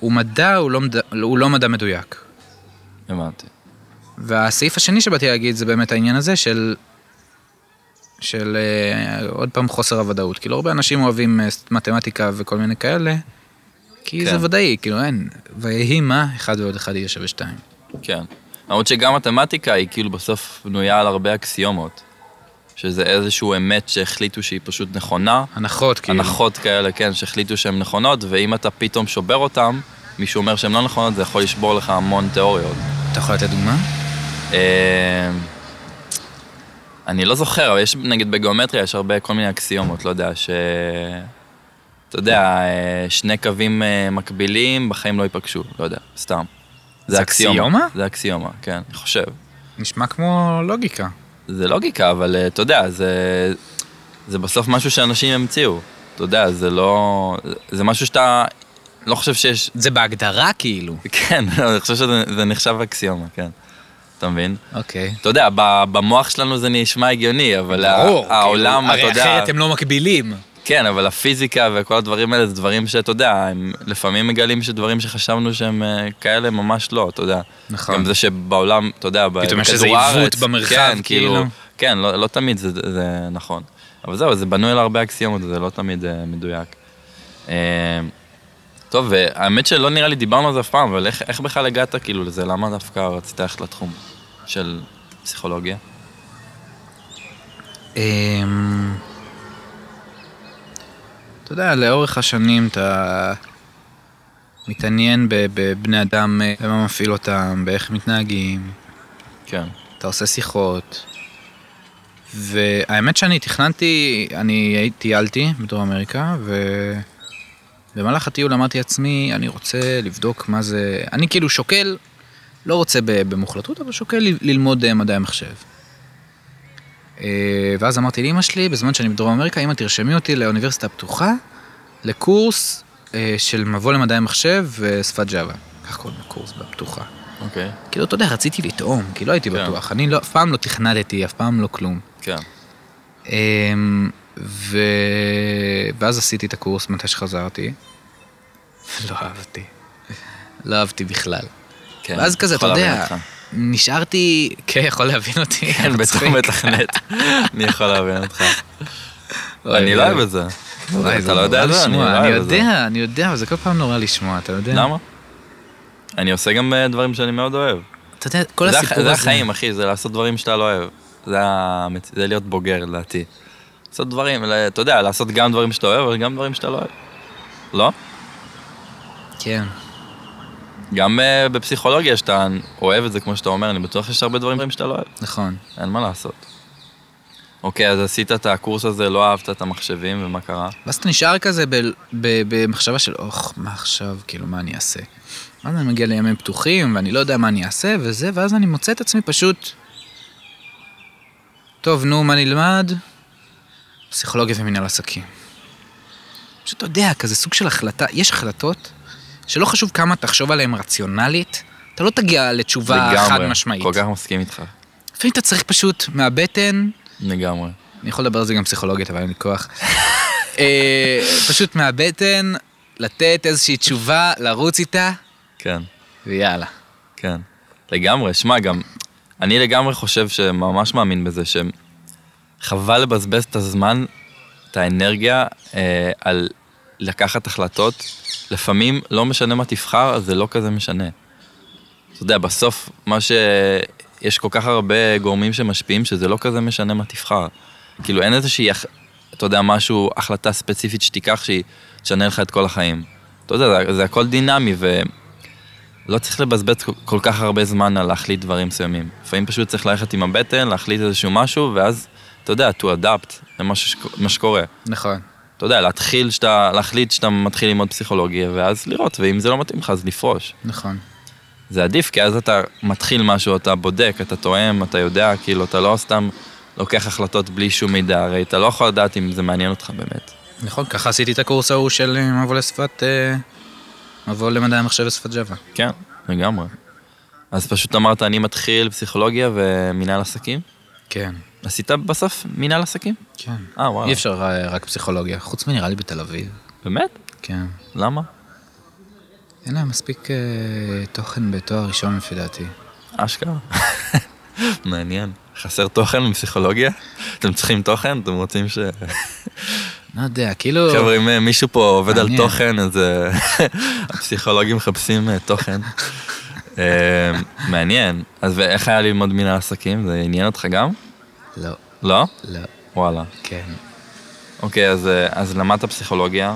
הוא מדע, הוא לא מדע, הוא לא מדע מדויק. הבנתי. והסעיף השני שבאתי להגיד זה באמת העניין הזה של... של אה, עוד פעם חוסר הוודאות. כאילו הרבה אנשים אוהבים אה, מתמטיקה וכל מיני כאלה, כי כן. זה ודאי, כאילו אין, ויהי מה, אחד ועוד אחד יהיה שווה שתיים. כן. למרות שגם מתמטיקה היא כאילו בסוף בנויה על הרבה אקסיומות. שזה איזשהו אמת שהחליטו שהיא פשוט נכונה. הנחות, כאילו. הנחות כאלה, כן, שהחליטו שהן נכונות, ואם אתה פתאום שובר אותן, מישהו אומר שהן לא נכונות, זה יכול לשבור לך המון תיאוריות. אתה יכול לתת דוגמה? אה, אני לא זוכר, אבל יש, נגיד בגיאומטריה יש הרבה כל מיני אקסיומות, לא יודע, ש... אתה יודע, אה, שני קווים אה, מקבילים בחיים לא ייפגשו, לא יודע, סתם. זה אקסיומה? זה אקסיומה, כן, אני חושב. נשמע כמו לוגיקה. זה לוגיקה, אבל אה, אתה יודע, זה, זה בסוף משהו שאנשים המציאו. אתה יודע, זה לא... זה משהו שאתה לא חושב שיש... זה בהגדרה כאילו. כן, אני חושב שזה זה נחשב אקסיומה, כן. אתה מבין? אוקיי. אתה יודע, ב- במוח שלנו זה נשמע הגיוני, אבל ה- ברור, כאילו, העולם, אתה הרי יודע... אחרת הם לא מקבילים. כן, אבל הפיזיקה וכל הדברים האלה זה דברים שאתה יודע, הם לפעמים מגלים שדברים שחשבנו שהם אה, כאלה, ממש לא, אתה יודע. נכון. גם זה שבעולם, אתה יודע, פתאום יש בכדור איזה עיוות הארץ, במרחב, כן, כאילו. כן, לא, לא תמיד זה, זה נכון. אבל זהו, זה בנוי על הרבה אקסיומות, זה לא תמיד אה, מדויק. אה, טוב, והאמת שלא נראה לי דיברנו על זה אף פעם, אבל איך, איך בכלל הגעת כאילו לזה? למה דווקא רצית ללכת לתחום של פסיכולוגיה? אמ, אתה יודע, לאורך השנים אתה מתעניין ב- בבני אדם, אה, במה מפעיל אותם, באיך הם מתנהגים, כן. אתה עושה שיחות. והאמת שאני תכננתי, אני הייתי- טיילתי בדרום אמריקה, ובמהלך הטיול אמרתי לעצמי, אני רוצה לבדוק מה זה, אני כאילו שוקל, לא רוצה ב- במוחלטות, אבל שוקל ל- ללמוד אה, מדעי המחשב. אה, ואז אמרתי לאמא שלי, בזמן שאני בדרום אמריקה, אמא תרשמי אותי לאוניברסיטה הפתוחה, לקורס אה, של מבוא למדעי המחשב ושפת ג'אווה. כך קוראים לקורס בפתוחה. אוקיי. כאילו, אתה יודע, רציתי לטעום, כי לא הייתי כן. בטוח. אני לא, אף פעם לא תכנדתי, אף פעם לא כלום. כן. אמ, ו... ואז עשיתי את הקורס מתי שחזרתי. לא אהבתי. לא אהבתי בכלל. כן. ואז כזה, אתה יכול להבין יודע, אותך. נשארתי... כן, יכול להבין אותי. כן, בתור מצחיק. מתכנת. אני יכול להבין אותך. אוי, אני לא אוהב את זה. וואי, אתה לא יודע את נורא זה? אני לא לשמוע, אוהב אני את זה. יודע, אני יודע, אבל זה כל פעם נורא לשמוע, אתה יודע. למה? אני עושה גם אה, דברים שאני מאוד אוהב. אתה יודע, כל זה הסיפור הח- הזה... זה החיים, אחי, זה לעשות דברים שאתה לא אוהב. זה המצ- זה להיות בוגר, לדעתי. לעשות דברים, ל- אתה יודע, לעשות גם דברים שאתה אוהב, אבל גם דברים שאתה לא אוהב. לא? כן. גם אה, בפסיכולוגיה, שאתה אוהב את זה כמו שאתה אומר, אני בטוח שיש הרבה דברים שאתה לא אוהב. נכון. אין מה לעשות. אוקיי, אז עשית את הקורס הזה, לא אהבת את המחשבים, ומה קרה? ואז אתה נשאר כזה ב- ב- במחשבה של, אוח, מה עכשיו, כאילו, מה אני אעשה? ואז אני מגיע לימים פתוחים, ואני לא יודע מה אני אעשה, וזה, ואז אני מוצא את עצמי פשוט... טוב, נו, מה נלמד? פסיכולוגיה ומנהל עסקים. פשוט, אתה יודע, כזה סוג של החלטה, יש החלטות שלא חשוב כמה תחשוב עליהן רציונלית, אתה לא תגיע לתשובה חד משמעית. כל כך מסכים איתך. לפעמים אתה צריך פשוט מהבטן לגמרי. אני יכול לדבר על זה גם פסיכולוגית, אבל אין לי כוח. אה, פשוט מהבטן, לתת איזושהי תשובה, לרוץ איתה, כן, ויאללה. כן. לגמרי, שמע, גם, אני לגמרי חושב שממש מאמין בזה, שחבל לבזבז את הזמן, את האנרגיה, אה, על לקחת החלטות. לפעמים, לא משנה מה תבחר, זה לא כזה משנה. אתה יודע, בסוף, מה ש... יש כל כך הרבה גורמים שמשפיעים, שזה לא כזה משנה מה תבחר. כאילו, אין איזושהי, הח- אתה יודע, משהו, החלטה ספציפית שתיקח, שהיא תשנה לך את כל החיים. אתה יודע, זה, זה הכל דינמי, ולא לא צריך לבזבז כל- כל כך הרבה זמן על להחליט דברים מסוימים. לפעמים פשוט צריך ללכת עם הבטן, להחליט איזשהו משהו, ואז, אתה יודע, to adapt למה ששק- מה שקורה. נכון. אתה יודע, להתחיל שאתה, להחליט שאתה מתחיל ללמוד פסיכולוגיה, ואז לראות, ואם זה לא מתאים לך, אז לפרוש. נכון. זה עדיף, כי אז אתה מתחיל משהו, אתה בודק, אתה תואם, אתה יודע, כאילו, אתה לא סתם לוקח החלטות בלי שום מידע, הרי אתה לא יכול לדעת אם זה מעניין אותך באמת. נכון, ככה עשיתי את הקורס ההוא של אה, מבוא לשפת... אה, מבוא למדעי המחשב ושפת ג'אווה. כן, לגמרי. אז פשוט אמרת, אני מתחיל פסיכולוגיה ומנהל עסקים? כן. עשית בסוף מנהל עסקים? כן. אה, וואלה. אי אפשר אה, רק פסיכולוגיה, חוץ מנראה לי בתל אביב. באמת? כן. למה? אין להם מספיק אה, תוכן בתואר ראשון לפי דעתי. אשכרה. מעניין. חסר תוכן בפסיכולוגיה? אתם צריכים תוכן? אתם רוצים ש... לא יודע, כאילו... חבר'ה, אם אה, מישהו פה עובד על מעניין. תוכן, אז אה, הפסיכולוגים מחפשים אה, תוכן. אה, מעניין. אז ואיך היה ללמוד מנהל עסקים? זה עניין אותך גם? לא, לא? לא, וואלה. כן. אוקיי, אז, אה, אז למדת פסיכולוגיה,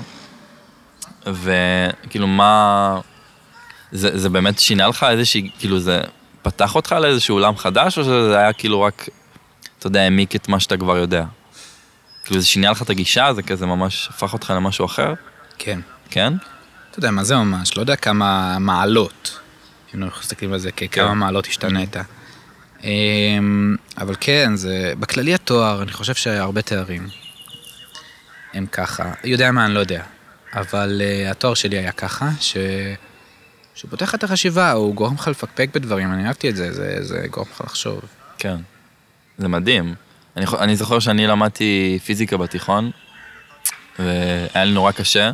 וכאילו מה... זה, זה באמת שינה לך איזושהי, כאילו זה פתח אותך לאיזשהו עולם חדש, או שזה היה כאילו רק, אתה יודע, העמיק את מה שאתה כבר יודע? כאילו זה שינה לך את הגישה, זה כזה ממש הפך אותך למשהו אחר? כן. כן? אתה יודע מה זה ממש, לא יודע כמה מעלות, אם אנחנו מסתכלים על זה ככמה כן. מעלות השתנית. אמ, אבל כן, זה, בכללי התואר, אני חושב שהרבה תארים הם ככה, יודע מה, אני לא יודע, אבל אה, התואר שלי היה ככה, ש... שהוא פותח את החשיבה, הוא גורם לך לפקפק בדברים, אני אהבתי את זה, זה, זה גורם לך לחשוב. כן. זה מדהים. אני, חו- אני זוכר שאני למדתי פיזיקה בתיכון, והיה לי נורא קשה,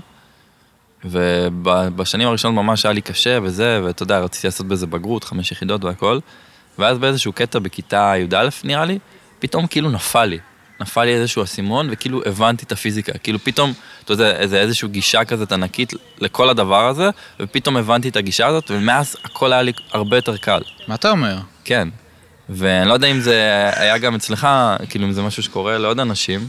ובשנים הראשונות ממש היה לי קשה וזה, ואתה יודע, רציתי לעשות בזה בגרות, חמש יחידות והכל, ואז באיזשהו קטע בכיתה י"א נראה לי, פתאום כאילו נפל לי. נפל לי איזשהו אסימון, וכאילו הבנתי את הפיזיקה. כאילו פתאום, אתה יודע, זה איזושהי גישה כזאת ענקית לכל הדבר הזה, ופתאום הבנתי את הגישה הזאת, ומאז הכל היה לי הרבה יותר קל. מה אתה אומר? כן. ואני לא יודע אם זה היה גם אצלך, כאילו אם זה משהו שקורה לעוד אנשים,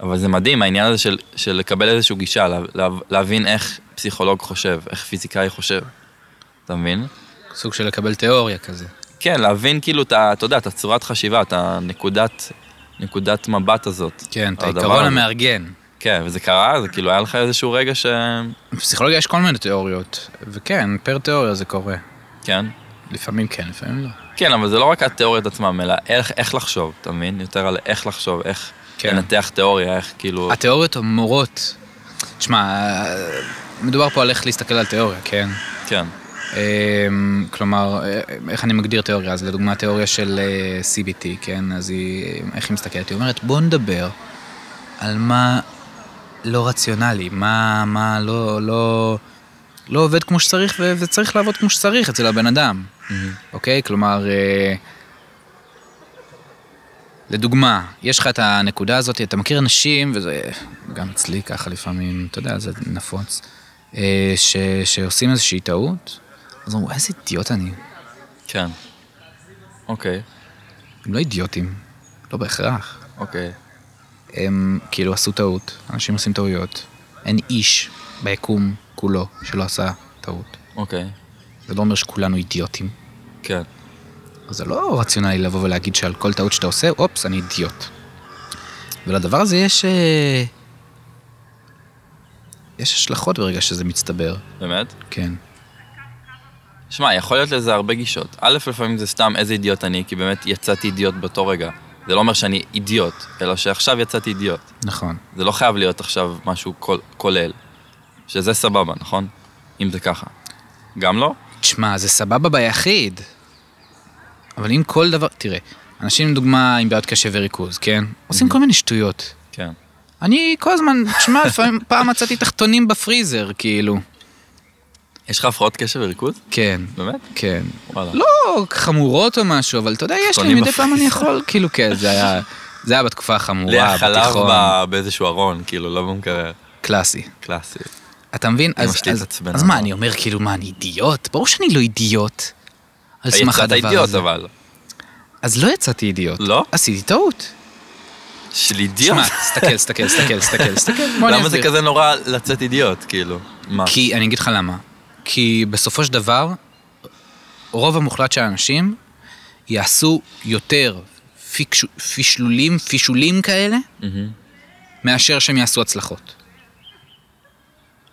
אבל זה מדהים, העניין הזה של, של לקבל איזושהי גישה, לה, לה, להבין איך פסיכולוג חושב, איך פיזיקאי חושב. אתה מבין? סוג של לקבל תיאוריה כזה. כן, להבין כאילו, את ה- אתה יודע, את הצורת חשיבה, את הנקודת נקודת מבט הזאת. כן, את על הדבר העיקרון הזה. המארגן. כן, וזה קרה, זה כאילו היה לך איזשהו רגע ש... בפסיכולוגיה יש כל מיני תיאוריות, וכן, פר תיאוריה זה קורה. כן. לפעמים כן, לפעמים לא. כן, אבל זה לא רק התיאוריות עצמם, אלא איך, איך לחשוב, אתה מבין? יותר על איך לחשוב, איך כן. לנתח תיאוריה, איך כאילו... התיאוריות המורות, תשמע, מדובר פה על איך להסתכל על תיאוריה, כן? כן, אמ, כלומר, אה, איך אני מגדיר תיאוריה? אז לדוגמה, התיאוריה של אה, CBT, כן? אז היא, איך היא מסתכלת? היא אומרת, בוא נדבר על מה לא רציונלי, מה, מה לא, לא, לא עובד כמו שצריך, ו- וצריך לעבוד כמו שצריך אצל הבן אדם, אוקיי? כלומר, אה, לדוגמה, יש לך את הנקודה הזאת, אתה מכיר אנשים, וזה גם אצלי ככה לפעמים, אתה יודע, זה נפוץ, אה, ש, שעושים איזושהי טעות, אז אמרו, איזה אידיוט אני. כן. אוקיי. הם לא אידיוטים, לא בהכרח. אוקיי. הם כאילו עשו טעות, אנשים עושים טעויות. אין איש ביקום כולו שלא עשה טעות. אוקיי. זה לא אומר שכולנו אידיוטים. כן. לא אז זה לא רציונלי לבוא ולהגיד שעל כל טעות שאתה עושה, אופס, אני אידיוט. ולדבר הזה יש... אה, יש השלכות ברגע שזה מצטבר. באמת? כן. שמע, יכול להיות לזה הרבה גישות. א', לפעמים זה סתם איזה אידיוט אני, כי באמת יצאתי אידיוט באותו רגע. זה לא אומר שאני אידיוט, אלא שעכשיו יצאתי אידיוט. נכון. זה לא חייב להיות עכשיו משהו כול, כולל. שזה סבבה, נכון? אם זה ככה. גם לא? תשמע, זה סבבה ביחיד. אבל אם כל דבר... תראה, אנשים, לדוגמה, עם בעיות קשב וריכוז, כן? עושים כל מיני שטויות. כן. אני כל הזמן, תשמע, לפעמים פעם מצאתי תחתונים בפריזר, כאילו. יש לך הפרעות קשב וריכוז? כן, באמת? כן. וואלה. לא חמורות או משהו, אבל אתה יודע, יש לי, תחתונים מדי פעם אני בפריזר. יכול, כאילו, כן, זה היה... זה היה בתקופה לי החמורה, היה חלב בתיכון, ב- באיזשהו ארון, כאילו, לא במקרר. קלאסי. קלאסי. אתה מבין? אז, שלי אז, התעצבנה. אז מה, אני אומר כאילו, מה, אני אידיוט? ברור שאני לא אידיוט. על סמך יצאת הדבר אידיוט, הזה. אבל. אז לא יצאתי אידיוט. לא? עשיתי טעות. של אידיוט. שמע, תסתכל, תסתכל, תסתכל, תסתכל, תסתכל. בוא אני למה זה אסביר. כזה נורא לצאת אידיוט, כאילו? מה? כי, אני אגיד לך למה. כי בסופו של דבר, רוב המוחלט של האנשים יעשו יותר פיקשו- פישלולים, פישולים כאלה, מהמם. מאשר שהם יעשו הצלחות.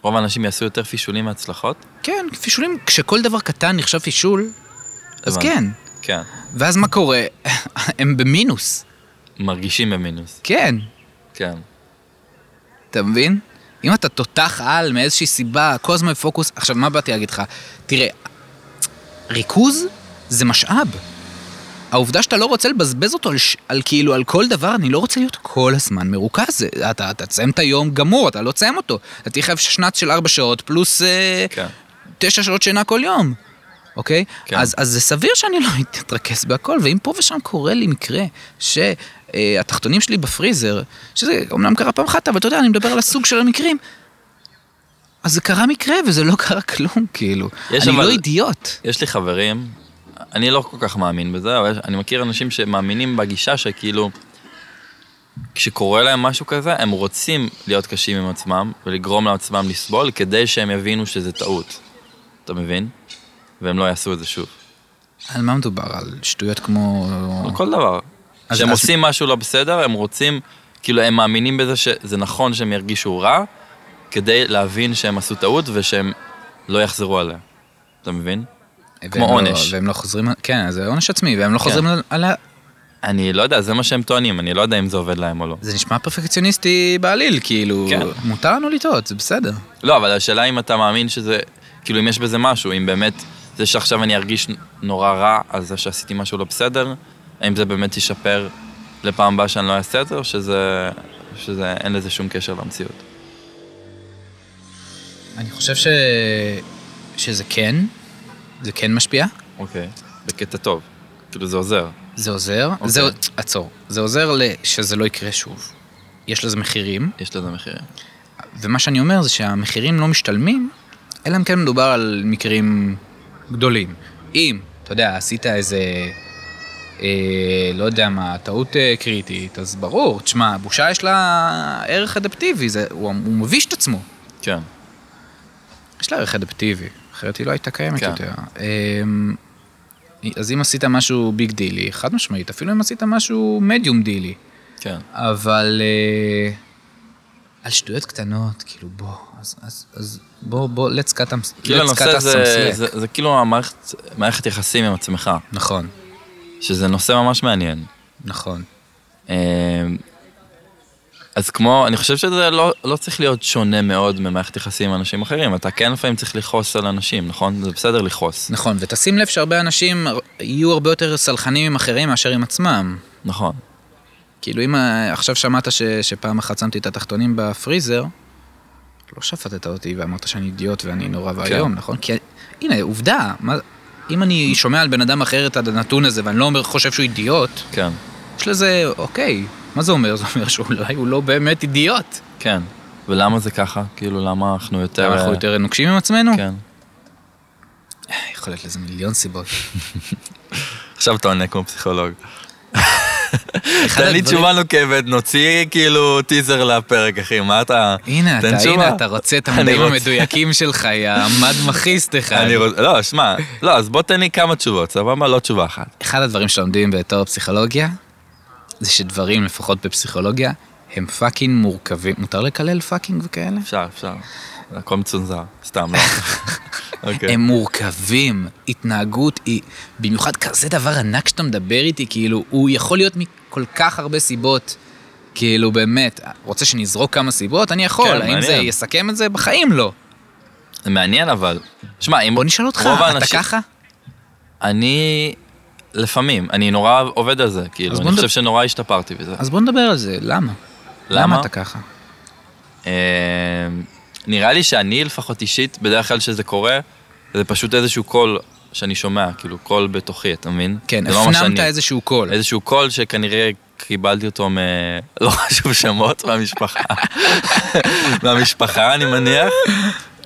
רוב האנשים יעשו יותר פישולים מהצלחות? כן, פישולים, כשכל דבר קטן נחשב פישול, אז הבנתי. כן. כן. ואז מה קורה? הם במינוס. מרגישים במינוס. כן, כן. אתה מבין? אם אתה תותח על מאיזושהי סיבה, כל הזמן פוקוס, עכשיו מה באתי להגיד לך? תראה, ריכוז זה משאב. העובדה שאתה לא רוצה לבזבז אותו על, ש... על כאילו, על כל דבר, אני לא רוצה להיות כל הזמן מרוכז. זה- אתה, אתה תסיים את היום גמור, אתה לא תסיים אותו. אתה תהיה חייב שנץ של ארבע שעות, פלוס אה, כן. תשע שעות שינה כל יום, אוקיי? כן. אז, אז זה סביר שאני לא אתרכז בהכל, ואם פה ושם קורה לי מקרה שהתחתונים שלי בפריזר, שזה אומנם קרה פעם אחת, אבל אתה יודע, אני מדבר על הסוג של המקרים, אז זה קרה מקרה וזה לא קרה כלום, כאילו. אני יש אבל... אבל- לא אידיוט. יש לי חברים, אני לא כל כך מאמין בזה, אבל יש- אני מכיר אנשים שמאמינים בגישה שכאילו, כשקורה להם משהו כזה, הם רוצים להיות קשים עם עצמם ולגרום לעצמם לסבול כדי שהם יבינו שזה טעות. אתה מבין? והם לא יעשו את זה שוב. על מה מדובר? על שטויות כמו... על כל דבר. אז- כשהם אז- עושים משהו לא בסדר, הם רוצים, כאילו, הם מאמינים בזה שזה נכון שהם ירגישו רע, כדי להבין שהם עשו טעות ושהם לא יחזרו עליה. אתה מבין? והם כמו לא- עונש. והם לא חוזרים... על- כן, זה עונש עצמי, והם לא חוזרים על- על ה... אני לא יודע, זה מה שהם טוענים, אני לא יודע אם זה עובד להם או לא. זה נשמע פרפקציוניסטי בעליל, כאילו... כן. מותר לנו לטעות, זה בסדר. לא, אבל השאלה אם אתה מאמין שזה, כאילו אם יש בזה משהו, אם באמת זה שעכשיו אני ארגיש נורא רע על זה שעשיתי משהו לא בסדר, האם זה באמת ישפר לפעם הבאה שאני לא אעשה את זה, או שזה, שזה אין לזה שום קשר למציאות. אני חושב ש... שזה כן, זה כן משפיע, אוקיי. בקטע טוב, כאילו זה עוזר. זה עוזר, אוקיי. זה... עצור, זה עוזר ל... שזה לא יקרה שוב. יש לזה מחירים, יש לזה מחירים. ומה שאני אומר זה שהמחירים לא משתלמים, אלא אם כן מדובר על מקרים גדולים. אם, אתה יודע, עשית איזה, אה, לא יודע מה, טעות אה, קריטית, אז ברור, תשמע, בושה יש לה ערך אדפטיבי, זה, הוא, הוא מביש את עצמו. כן. יש לה ערך אדפטיבי, אחרת היא לא הייתה קיימת כן. יותר. אמ, אז אם עשית משהו ביג דילי, חד משמעית, אפילו אם עשית משהו מדיום דילי, כן. אבל אה, על שטויות קטנות, כאילו בוא, אז, אז, אז בוא, בוא, let's cut them, כאילו let's cut הנושא us זה, some slack. זה, זה כאילו המערכת, מערכת יחסים עם עצמך, נכון, שזה נושא ממש מעניין. נכון. אה, אז כמו, אני חושב שזה לא, לא צריך להיות שונה מאוד ממערכת יחסים עם אנשים אחרים, אתה כן לפעמים צריך לכעוס על אנשים, נכון? זה בסדר לכעוס, נכון, ותשים לב שהרבה אנשים יהיו הרבה יותר סלחנים עם אחרים מאשר עם עצמם. נכון. כאילו אם אה, עכשיו שמעת ש, שפעם אחת שמתי את התחתונים בפריזר, לא שפטת אותי ואמרת שאני אידיוט ואני נורא ואיום, כן. נכון? כי הנה, עובדה, מה, אם אני שומע על בן אדם אחר את הנתון הזה ואני לא אומר, חושב שהוא אידיוט, כן, יש לזה, אוקיי, מה זה אומר? זה אומר שאולי הוא לא באמת אידיוט. כן. ולמה זה ככה? כאילו, למה אנחנו יותר... אנחנו יותר נוקשים עם עצמנו? כן. יכול להיות לזה מיליון סיבות. עכשיו אתה עונה כמו פסיכולוג. תן אחד לי הדברים- תשובה נוקבת, נוציא כאילו טיזר לפרק, אחי, מה אתה... הנה, תן אתה, תשובה. הנה, אתה רוצה את אני המדעים רוצה. המדויקים שלך, יא מד מכיסט אחד. אני רוצה... לא, שמע, לא, אז בוא תן לי כמה תשובות, סבבה? לא תשובה אחת. אחד הדברים שלומדים בתואר פסיכולוגיה, זה שדברים, לפחות בפסיכולוגיה, הם פאקינג מורכבים. מותר לקלל פאקינג וכאלה? אפשר, אפשר. הכל מצונזר, סתם, לא. אוקיי. הם מורכבים. התנהגות היא, במיוחד כזה דבר ענק שאתה מדבר איתי, כאילו, הוא יכול להיות מכל כך הרבה סיבות. כאילו, באמת, רוצה שנזרוק כמה סיבות? אני יכול. כן, האם זה מעניין. יסכם את זה? בחיים לא. זה מעניין אבל. שמע, אם... בוא נשאל אותך, רוב אתה האנשים- ככה? אני... לפעמים, אני נורא עובד על זה, כאילו, אז אני בוא נד- חושב שנורא השתפרתי בזה. אז בוא נדבר על זה, למה? למה? למה אתה ככה? אה, נראה לי שאני לפחות אישית, בדרך כלל שזה קורה, זה פשוט איזשהו קול שאני שומע, כאילו קול בתוכי, אתה מבין? כן, זה לא אה, ממש הפנמת אני. איזשהו קול. איזשהו קול שכנראה קיבלתי אותו מ... לא חשוב שמות, מהמשפחה. מהמשפחה, אני מניח.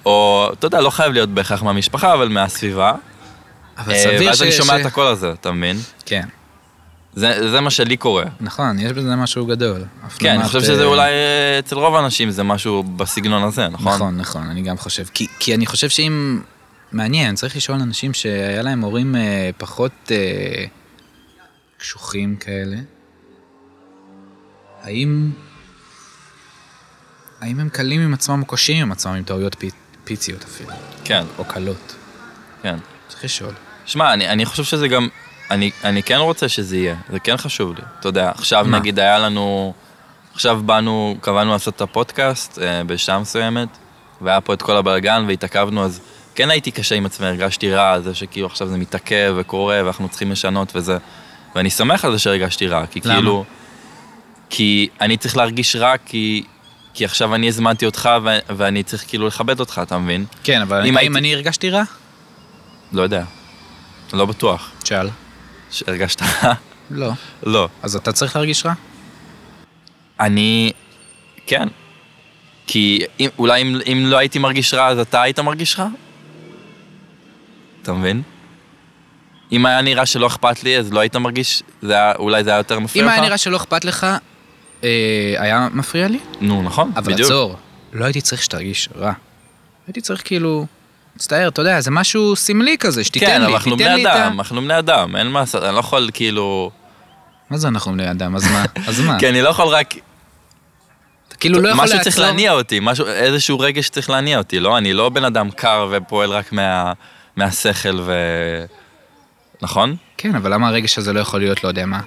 או, אתה יודע, לא חייב להיות בהכרח מהמשפחה, אבל מהסביבה. אבל אה, סביר ואז אני ש- שומע ש- את הקול הזה, אתה מבין? כן, זה זה מה שלי קורה. נכון, יש בזה משהו גדול. כן, אני הפנמת, חושב שזה אה, אולי אה, אצל רוב האנשים זה משהו בסגנון הזה, נכון? נכון, נכון, אני גם חושב. כי, כי אני חושב שאם... מעניין, צריך לשאול אנשים שהיה להם הורים אה, פחות אה, קשוחים כאלה, האם... האם הם קלים עם עצמם או קשים עם עצמם, עם טעויות פי, פיציות אפילו, כן, או קלות? כן. צריך לשאול. שמע, אני, אני חושב שזה גם, אני, אני כן רוצה שזה יהיה, זה כן חשוב לי. אתה יודע, עכשיו מה? מה? נגיד היה לנו, עכשיו באנו, קבענו לעשות את הפודקאסט אה, בשעה מסוימת, והיה פה את כל הבלגן והתעכבנו, אז כן הייתי קשה עם עצמי, הרגשתי רע על זה שכאילו עכשיו זה מתעכב וקורה ואנחנו צריכים לשנות וזה, ואני שמח על זה שהרגשתי רע, כי למה? כאילו, כי אני צריך להרגיש רע כי... כי עכשיו אני הזמנתי אותך ו- ואני צריך כאילו לכבד אותך, אתה מבין? כן, אבל אם אם הייתי- אני הרגשתי רע? לא יודע. לא בטוח. שאל. שהרגשת רע? לא. לא. אז אתה צריך להרגיש רע? אני... כן. כי אם, אולי אם, אם לא הייתי מרגיש רע, אז אתה היית מרגיש רע? אתה מבין? אם היה נראה שלא אכפת לי, אז לא היית מרגיש... זה היה, אולי זה היה יותר מפריע אם לך? היה נראה שלא אכפת לך, אה, היה מפריע לי? נו, נכון, אבל בדיוק. עצור, לא הייתי צריך שתרגיש רע. הייתי צריך כאילו, מצטער, אתה יודע, זה משהו סמלי כזה, שתיתן כן, לי, אבל אנחנו תיתן בני לי את ה- אדם, אנחנו בני אדם, אין מה לעשות, אני לא יכול כאילו... מה זה אנחנו בני אדם? אז מה? אז מה? כי אני לא יכול רק... אתה כאילו אה. לא יכול משהו צריך לעצור... להניע אותי, משהו, איזשהו רגע שצריך להניע אותי, לא? אני לא בן אדם קר ופועל רק מה, מהשכל ו... נכון? כן, אבל למה הרגש הזה לא יכול להיות, לא יודע מה?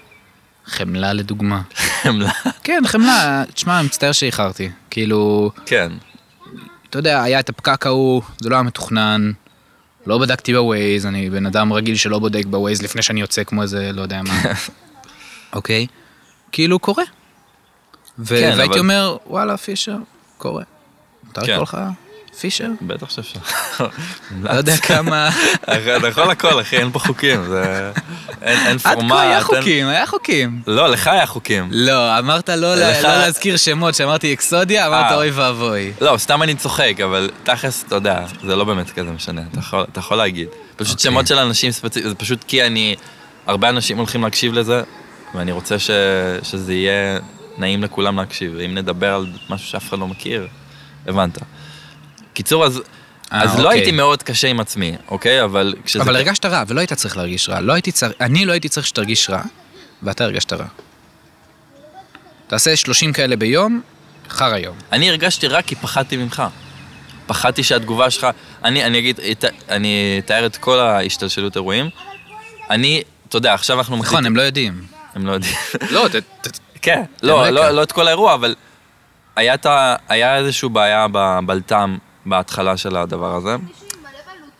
חמלה לדוגמה. חמלה. כן, חמלה, תשמע, אני מצטער שאיחרתי. כאילו, כן. אתה יודע, היה את הפקק ההוא, זה לא היה מתוכנן, לא בדקתי בווייז, אני בן אדם רגיל שלא בודק בווייז לפני שאני יוצא כמו איזה, לא יודע מה. אוקיי? כאילו, קורה. ו- כן, והייתי אבל- אומר, וואלה, פישר, קורה. מותר כן. לקרוא לך פישר? בטח שאפשר. לא יודע כמה... אחי, אתה יכול הכל, אחי, אין פה חוקים, זה... אין אין עד פורמט. כה היה אין- חוקים, היה חוקים. לא, לך היה חוקים. לא, אמרת לא ל- לך- לא להזכיר שמות, שאמרתי אקסודיה, אמרת אה. אוי ואבוי. לא, סתם אני צוחק, אבל תכלס, אתה יודע, זה לא באמת כזה משנה, אתה יכול- אתה יכול להגיד. פשוט אוקיי. שמות של אנשים ספציפיים, זה פשוט כי אני... הרבה אנשים הולכים להקשיב לזה, ואני רוצה ש- שזה יהיה נעים לכולם להקשיב, ואם נדבר על משהו שאף אחד לא מכיר, הבנת. קיצור, אז... אה, אז לא אוקיי. הייתי מאוד קשה עם עצמי, אוקיי? אבל כשזה... אבל הרגשת רע, ולא היית צריך להרגיש רע. לא הייתי צר... אני לא הייתי צריך שתרגיש רע, ואתה הרגשת רע. תעשה 30 כאלה ביום, אחר היום. אני הרגשתי רע כי פחדתי ממך. פחדתי שהתגובה שלך... אני, אני אגיד, את, אני אתאר את כל ההשתלשלות אירועים. אני, אתה יודע, עכשיו אנחנו מחליטים... נכון, הם לא יודעים. הם לא יודעים. לא, ת- ת- כן, לא, רקע. לא, לא את כל האירוע, אבל היה, את ה- היה איזושהי בעיה בבלת"ם בהתחלה של הדבר הזה.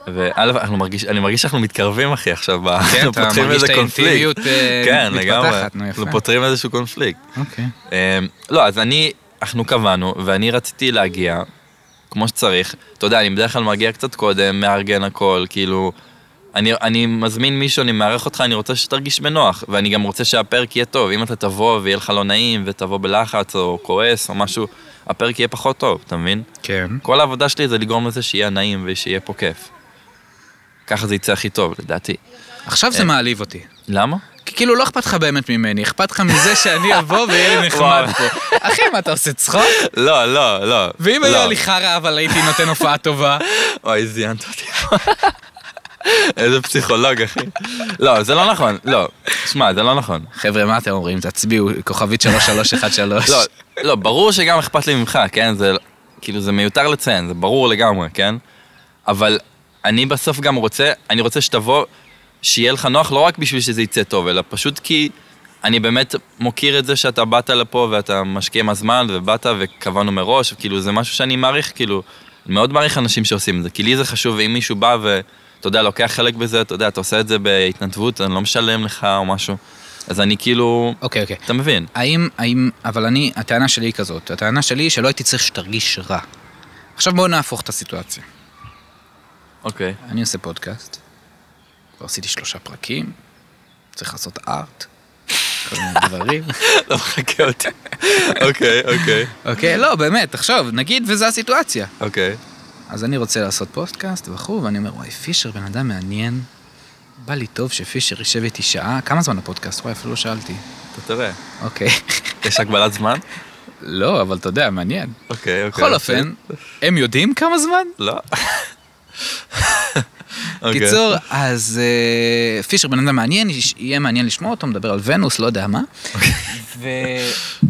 וא', אנחנו מרגיש, אני מרגיש שאנחנו מתקרבים, אחי, עכשיו. ב- אנחנו כן, אתה פותחים מרגיש איזה את קונפליקט. האינטימיות, אה, כן, מתפתחת, לגמרי. נו, יפה. אנחנו פותרים איזשהו קונפליקט. אוקיי. אמ, לא, אז אני, אנחנו קבענו, ואני רציתי להגיע כמו שצריך. אתה יודע, אני בדרך כלל מגיע קצת קודם, מארגן הכל, כאילו... אני, אני מזמין מישהו, אני מארח אותך, אני רוצה שתרגיש בנוח, ואני גם רוצה שהפרק יהיה טוב. אם אתה תבוא ויהיה לך לא נעים, ותבוא בלחץ או כועס או משהו, הפרק יהיה פחות טוב, אתה מבין? כן. כל העבודה שלי זה לגרום לזה שיהיה נעים ושיהיה פה כיף. ככה זה יצא הכי טוב, לדעתי. עכשיו זה מעליב אותי. למה? כי כאילו לא אכפת לך באמת ממני, אכפת לך מזה שאני אבוא ויהיה לי נחמד וואו. פה. אחי, מה, אתה עושה צחוק? לא, לא, לא. ואם לא. היה לי חרא, אבל הייתי נותן הופעה טובה. אוי, זיינת אותי. איזה פסיכולוג, אחי. לא, זה לא נכון, לא. שמע, זה לא נכון. חבר'ה, מה אתם אומרים? תצביעו, כוכבית 3313. לא, לא, ברור שגם אכפת לי ממך, כן? זה, כאילו, זה מיותר לציין, זה ברור לגמרי, כן? אבל אני בסוף גם רוצה, אני רוצה שתבוא, שיהיה לך נוח לא רק בשביל שזה יצא טוב, אלא פשוט כי אני באמת מוקיר את זה שאתה באת לפה ואתה משקיע מהזמן, ובאת וקבענו מראש, כאילו, זה משהו שאני מעריך, כאילו, אני מאוד מעריך אנשים שעושים את זה, כי לי זה חשוב, ואם מישהו בא ו... אתה יודע, לוקח חלק בזה, אתה יודע, אתה עושה את זה בהתנדבות, אני לא משלם לך או משהו. אז אני כאילו, אוקיי, אוקיי. אתה מבין? האם, האם, אבל אני, הטענה שלי היא כזאת, הטענה שלי היא שלא הייתי צריך שתרגיש רע. עכשיו בואו נהפוך את הסיטואציה. אוקיי. אני עושה פודקאסט, כבר עשיתי שלושה פרקים, צריך לעשות ארט, כל מיני דברים. לא מחכה אותי. אוקיי, אוקיי. אוקיי, לא, באמת, תחשוב, נגיד וזו הסיטואציה. אוקיי. אז אני רוצה לעשות פודקאסט וכו', ואני אומר, וואי, פישר בן אדם מעניין. בא לי טוב שפישר יישב איתי שעה, כמה זמן הפודקאסט? וואי, אפילו לא שאלתי. אתה תראה. אוקיי. יש הגבלת זמן? לא, אבל אתה יודע, מעניין. אוקיי, אוקיי. בכל אופן, הם יודעים כמה זמן? לא. אוקיי. קיצור, אז אה, פישר בן אדם מעניין, יש- יהיה מעניין לשמוע אותו, מדבר על ונוס, לא יודע מה. ו...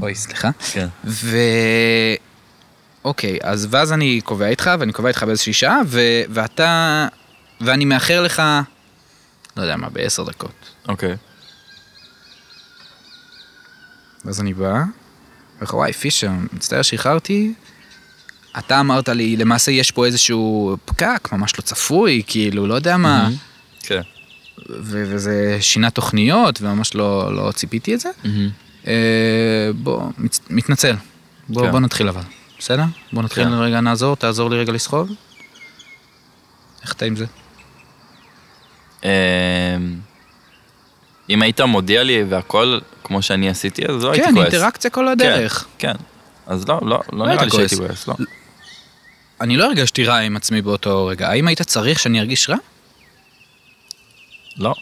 אוי, סליחה. כן. ו... אוקיי, אז ואז אני קובע איתך, ואני קובע איתך באיזושהי שעה, ו... ואתה... ואני מאחר לך, לא יודע מה, בעשר דקות. אוקיי. ואז אני בא, ואומר לך, וואי, פישר, מצטער שאיחרתי. אתה אמרת לי, למעשה יש פה איזשהו פקק, ממש לא צפוי, כאילו, לא יודע מה. כן. ו- וזה שינה תוכניות, וממש לא, לא ציפיתי את זה. אה, בוא, מצ- מתנצל. בוא, כן. בוא נתחיל אבל, בסדר? בוא נתחיל כן. רגע, נעזור, תעזור לי רגע לסחוב. איך אתה עם זה? לא אמ, אם היית מודיע לי והכל כמו שאני עשיתי, אז לא הייתי כן, כועס. אינטראקציה כל כן, הדרך. כן. אז לא, לא, לא היית נראה לי כועס. שהייתי כועס, לא. אני לא הרגשתי רע עם עצמי באותו רגע. האם היית צריך שאני ארגיש רע? לא.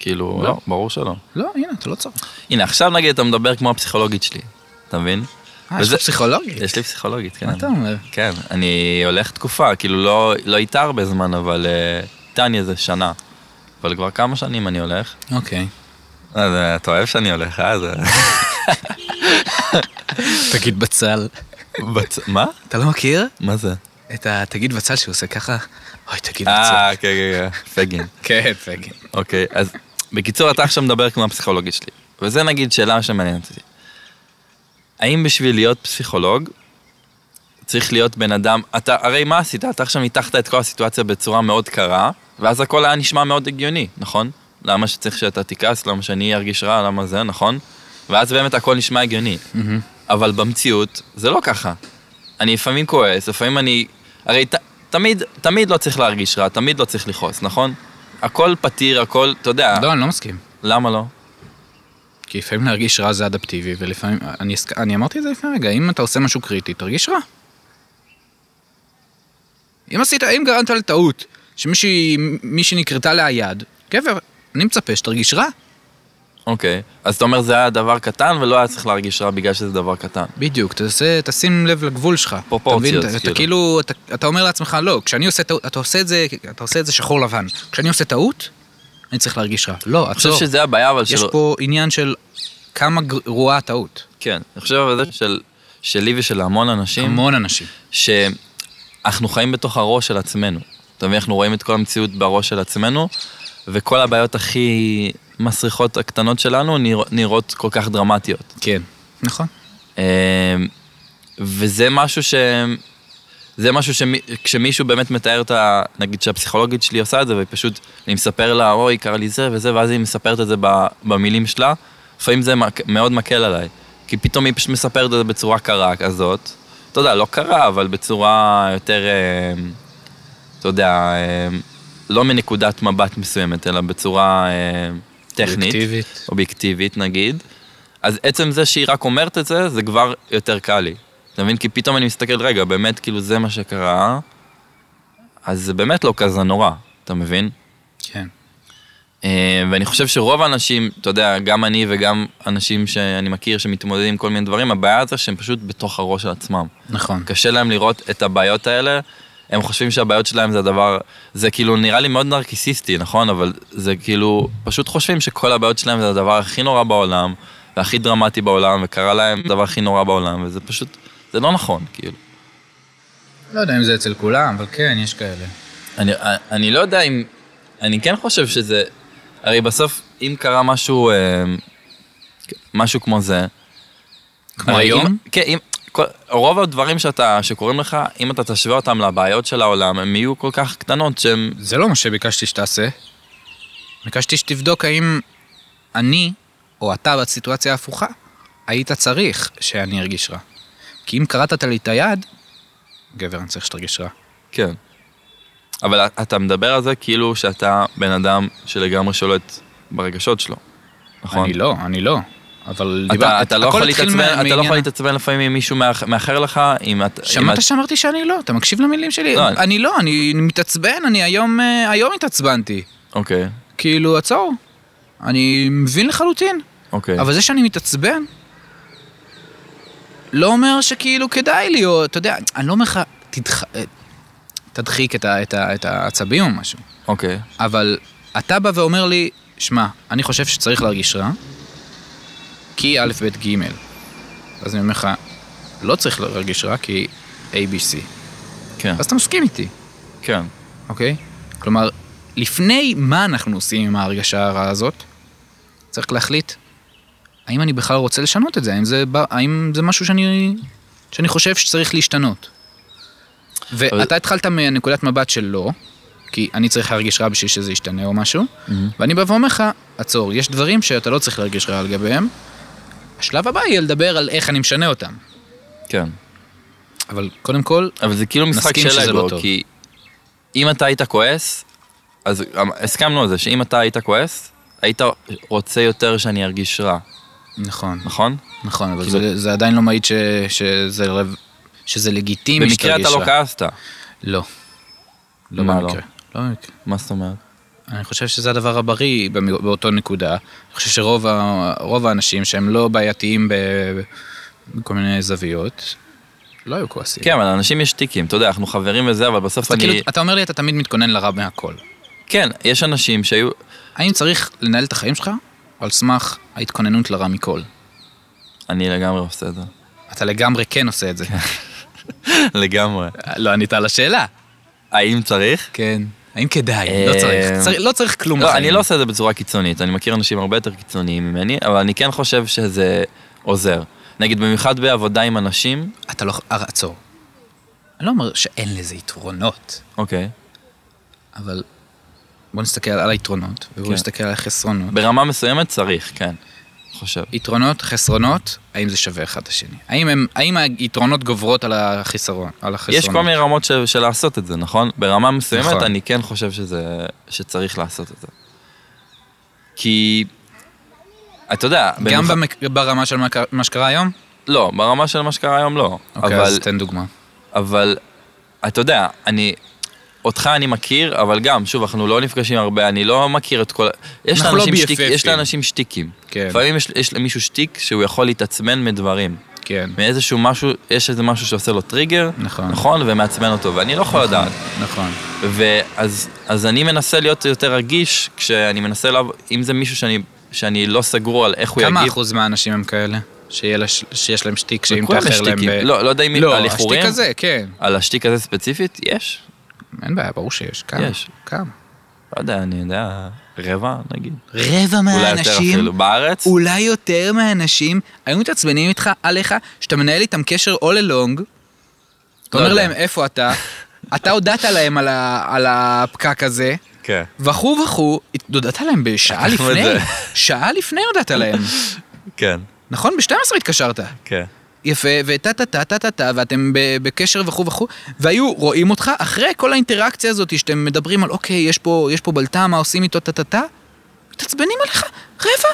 כאילו, לא. לא, ברור שלא. לא, הנה, אתה לא צריך. הנה, עכשיו נגיד אתה מדבר כמו הפסיכולוגית שלי, אתה מבין? אה, יש לך וזה- פסיכולוגית. יש לי פסיכולוגית, כן. מה אתה אומר? כן, אני הולך תקופה, כאילו לא, לא איתה הרבה זמן, אבל אה, איתה אני איזה שנה. אבל כבר כמה שנים אני הולך. אוקיי. אז אה, אתה אוהב שאני הולך, אה? זה... תגיד בצל. בצ- מה? אתה לא מכיר מה זה? את ה... תגיד בצל שהוא עושה ככה? אוי, תגיד בצל. אה, כן, כן, כן, פגין. כן, פגי. אוקיי, אז בקיצור, אתה עכשיו מדבר כמו הפסיכולוגית שלי. וזה נגיד שאלה שמעניינת אותי. האם בשביל להיות פסיכולוג, צריך להיות בן אדם, אתה, הרי מה עשית? אתה עכשיו ניתחת את כל הסיטואציה בצורה מאוד קרה, ואז הכל היה נשמע מאוד הגיוני, נכון? למה שצריך שאתה תכעס, למה שאני ארגיש רע, למה זה, נכון? ואז באמת הכל נשמע הגיוני. אבל במציאות, זה לא ככה. אני לפעמים כועס, לפעמים אני... הרי ת, תמיד, תמיד לא צריך להרגיש רע, תמיד לא צריך לכעוס, נכון? הכל פתיר, הכל, אתה יודע, לא, אני לא מסכים. למה לא? כי לפעמים להרגיש רע זה אדפטיבי, ולפעמים, אני, הסק- אני אמרתי את זה לפני רגע, אם אתה עושה משהו קריטי, תרגיש רע. אם עשית, אם גרמת לטעות, שמישהי מישהי נקרתה לה היד, גבר, אני מצפה שתרגיש רע. אוקיי. אז אתה אומר, זה היה דבר קטן, ולא היה צריך להרגיש רע בגלל שזה דבר קטן. בדיוק, תעשה, תשים לב לגבול שלך. פרופורציות, אתה מבין? אתה- אתה כאילו, אתה, אתה אומר לעצמך, לא, כשאני עושה טעות, אתה עושה את זה, אתה עושה את זה שחור לבן. כשאני עושה טעות, אני צריך להרגיש רע. לא, אני חושב עצור. שזה הבעיה, אבל יש שלא... פה עניין של כמה גרועה הטעות. כן, אני חושב על זה של, שלי ושל המון אנשים, המון. המון אנשים. שאנחנו חיים בתוך הראש של עצמנו. אתה מבין, אנחנו רואים את כל המציאות בראש של עצמנו, וכל הבעיות הכי מסריחות הקטנות שלנו נרא, נראות כל כך דרמטיות. כן. נכון. אמ, וזה משהו ש... זה משהו שכשמישהו באמת מתאר את ה... נגיד שהפסיכולוגית שלי עושה את זה, ופשוט אני מספר לה, אוי, קרה לי זה וזה, ואז היא מספרת את זה ב- במילים שלה, לפעמים זה מק- מאוד מקל עליי. כי פתאום היא פשוט מספרת את זה בצורה קרה כזאת. אתה יודע, לא קרה, אבל בצורה יותר, אמ, אתה יודע, אמ, לא מנקודת מבט מסוימת, אלא בצורה אמ, טכנית. אובייקטיבית. אובייקטיבית נגיד, אז עצם זה שהיא רק אומרת את זה, זה כבר יותר קל לי. אתה מבין? כי פתאום אני מסתכל, רגע, באמת, כאילו, זה מה שקרה, אז זה באמת לא כזה נורא, אתה מבין? כן. אה, ואני חושב שרוב האנשים, אתה יודע, גם אני וגם אנשים שאני מכיר שמתמודדים עם כל מיני דברים, הבעיה זה שהם פשוט בתוך הראש של עצמם. נכון. קשה להם לראות את הבעיות האלה הם חושבים שהבעיות שלהם זה הדבר, זה כאילו נראה לי מאוד נרקיסיסטי, נכון? אבל זה כאילו, פשוט חושבים שכל הבעיות שלהם זה הדבר הכי נורא בעולם, והכי דרמטי בעולם, וקרה להם הדבר הכי נורא בעולם, וזה פשוט, זה לא נכון, כאילו. לא יודע אם זה אצל כולם, אבל כן, יש כאלה. אני, אני לא יודע אם, אני כן חושב שזה, הרי בסוף, אם קרה משהו, אה, משהו כמו זה, כמו הרי היום? אם, כן, אם, כל, רוב הדברים שאתה, שקורים לך, אם אתה תשווה אותם לבעיות של העולם, הם יהיו כל כך קטנות שהם... זה לא מה שביקשתי שתעשה. ביקשתי שתבדוק האם אני, או אתה בסיטואציה ההפוכה, היית צריך שאני ארגיש רע. כי אם קרטת לי את היד, גבר, אני צריך שתרגיש רע. כן. אבל אתה מדבר על זה כאילו שאתה בן אדם שלגמרי שולט ברגשות שלו, נכון? אני לא, אני לא. אבל אתה, דיבר- אתה, לא הכל יכול התחיל להתעצבן, מה- אתה לא מעניין יכול להתעצבן לפעמים אם מישהו מאח- מאחר לך, אם אתה... שמעת שאמרתי שאני לא, אתה מקשיב למילים שלי? לא, אני לא, אני מתעצבן, אני היום אה, היום התעצבנתי. אוקיי, כאילו, עצור. אני מבין לחלוטין, אוקיי. אבל זה שאני מתעצבן, לא אומר שכאילו כדאי לי, או אתה יודע, אני לא אומר לך, תדח... אה, תדחיק את, ה, את, ה, את העצבים או משהו, אוקיי, אבל אתה בא ואומר לי, שמע, אני חושב שצריך להרגיש רע, כי א', ב', ג', אז אני אומר לך, לא צריך להרגיש רע, כי A, B, C. כן, אז אתה מסכים איתי, כן, אוקיי? כלומר, לפני מה אנחנו עושים עם ההרגשה הרעה הזאת, צריך להחליט האם אני בכלל רוצה לשנות את זה, האם זה, בא- האם זה משהו שאני, שאני חושב שצריך להשתנות. אבל- ואתה התחלת מנקודת מבט של לא, כי אני צריך להרגיש רע בשביל שזה ישתנה או משהו, ואני בא ואומר לך, עצור, יש דברים שאתה לא צריך להרגיש רע לגביהם, השלב הבא יהיה לדבר על איך אני משנה אותם. כן. אבל קודם כל, אבל זה כאילו משחק נסכים של שזה לא אגו, טוב. כי אם אתה היית כועס, אז אמ- הסכמנו על זה שאם אתה היית כועס, היית רוצה יותר שאני ארגיש רע, נכון, נכון? נכון, אבל כאילו- זה, זה עדיין לא מעיד ש, שזה, לב- שזה לגיטימי במקרה אתה לא רע. כעסת. לא. לא מה במקרה. לא במקרה. מה זאת אומרת? אני חושב שזה הדבר הבריא במ- באותו נקודה. אני חושב שרוב ה, רוב האנשים שהם לא בעייתיים ב- בכל מיני זוויות, לא היו כועסים. כן, אבל לאנשים יש טיקים, אתה יודע, אנחנו חברים וזה, אבל בסוף אתה, אני... כאילו, אתה אומר לי, אתה תמיד מתכונן לרע מהכל. כן, יש אנשים שהיו... האם צריך לנהל את החיים שלך על סמך ההתכוננות לרע מכל? אני לגמרי עושה את זה. אתה לגמרי כן עושה את זה. לגמרי. לא ענית על השאלה. האם צריך? כן. האם כדאי? אה, לא צריך. צריך- לא צריך כלום לא, בחיים. אני לא עושה את זה בצורה קיצונית, אני מכיר אנשים הרבה יותר קיצוניים ממני, אבל אני כן חושב שזה עוזר. נגיד, במיוחד בעבודה עם אנשים, אתה לא... עצור. אני לא אומר שאין לזה יתרונות. אוקיי, אבל בוא נסתכל על היתרונות, ובוא כן. נסתכל על החסרונות. ברמה מסוימת צריך, כן, חושב. יתרונות, חסרונות, האם זה שווה אחד את השני? האם, הם, האם היתרונות גוברות על החיסרון? על החסרונות? יש כל מיני רמות של, של לעשות את זה, נכון? ברמה מסוימת נכון. אני כן חושב שזה, שצריך לעשות את זה. כי, אתה יודע, גם במיוחד- במק... ברמה של מה, קרה- מה שקרה היום? לא, ברמה של מה שקרה היום לא. אוקיי, אבל, אז תן דוגמה. אבל, אתה יודע, אני, אותך אני מכיר, אבל גם, שוב, אנחנו לא נפגשים הרבה, אני לא מכיר את כל... ה- יש אנחנו לא לאנשים BFFים. שטיק, יש לאנשים שטיקים. כן. לפעמים יש, יש למישהו שטיק שהוא יכול להתעצמן מדברים. כן, מאיזשהו משהו, יש איזה משהו שעושה לו טריגר, נכון. נכון ומעצבן אותו, ואני לא יכול לדעת. נכון. ואז אז אני מנסה להיות יותר רגיש, כשאני מנסה לעבוד, אם זה מישהו שאני, שאני לא סגור על איך הוא יגיב. כמה אחוז מהאנשים הם כאלה? שיהיה לש... שיש להם שטיק, שאם לכולם יש תאחר להם... שטיקים. לא, לא יודע אם לא, על איחורים, השטיק הזה, כן. על השטיק הזה ספציפית, יש. אין בעיה, ברור שיש. כמה? יש. כמה? לא יודע, אני יודע, רבע נגיד. אה, רבע אולי יותר אפילו. בארץ? אולי יותר מהאנשים היו מתעצבנים איתך, עליך, שאתה מנהל איתם קשר all along, אתה לא אומר יודע. להם איפה אתה, אתה הודעת להם על, ה, על הפקק הזה, כן. וכו' וכו', הודעת להם בשעה לקחנו את לפני, זה. שעה לפני הודעת להם, כן, נכון? ב-12 התקשרת. כן. יפה, וטה טה טה טה טה טה, ואתם ב- בקשר וכו' וכו', והיו רואים אותך אחרי כל האינטראקציה הזאת שאתם מדברים על אוקיי, יש פה, יש פה בלטה, מה עושים איתו טה טה טה, מתעצבנים עליך, רבע.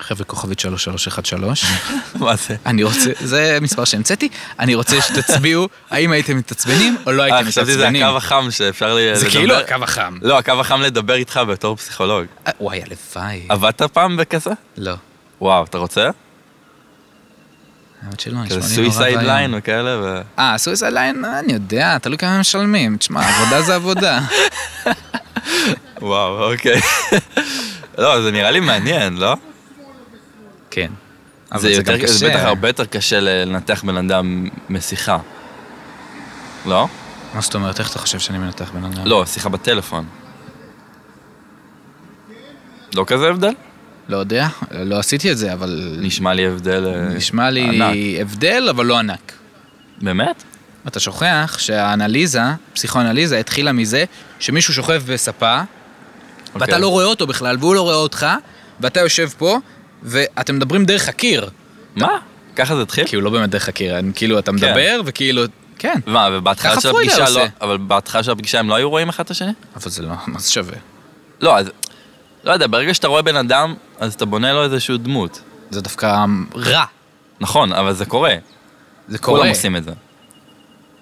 חבר'ה כוכבית 3313, מה זה? אני רוצה, זה מספר שהמצאתי, אני רוצה שתצביעו האם הייתם מתעצבנים או לא אה, הייתם חשבתי שזה מתעצבנים. הקו החם שאפשר לי לדבר. זה כאילו הקו החם. לא, הקו החם לדבר איתך בתור פסיכולוג. אה, וואי, הלוואי. עבדת פעם בכזה? לא. וואו, אתה רוצה? האמת שלא, נשמע כזה לי נורא סויסייד רעיון. ליין וכאלה, ו... אה, סויסייד ליין, אני יודע, תלוי כמה הם משלמים. תשמע, עבודה זה עבודה. וואו, אוקיי. לא, זה נראה לי מעניין, לא? כן. אבל זה זה יותר- גם קשה. זה בטח הרבה יותר קשה לנתח בן אדם משיחה. לא? מה זאת אומרת, איך אתה חושב שאני מנתח בן אדם? לא, שיחה בטלפון. לא כזה הבדל? לא יודע, לא עשיתי את זה, אבל... נשמע לי הבדל אה, נשמע לי ענק. הבדל, אבל לא ענק. באמת? אתה שוכח שהאנליזה, פסיכואנליזה, התחילה מזה שמישהו שוכב בספה, ואתה אוקיי. לא רואה אותו בכלל, והוא לא רואה אותך, ואתה יושב פה, ואתם מדברים דרך הקיר. מה? ככה זה התחיל? כאילו, לא באמת דרך הקיר, הם- כאילו, אתה מדבר, וכאילו... כן. מה, ובהתחלה ככה של פרויד הפגישה לא... עושה. אבל בהתחלה של הפגישה הם לא היו רואים אחד את השני? אבל זה לא, מה זה שווה? לא, אז... לא יודע, ברגע שאתה רואה בן אדם, אז אתה בונה לו איזושהי דמות. זה דווקא רע. נכון, אבל זה קורה. זה קורה. כולם עושים את זה.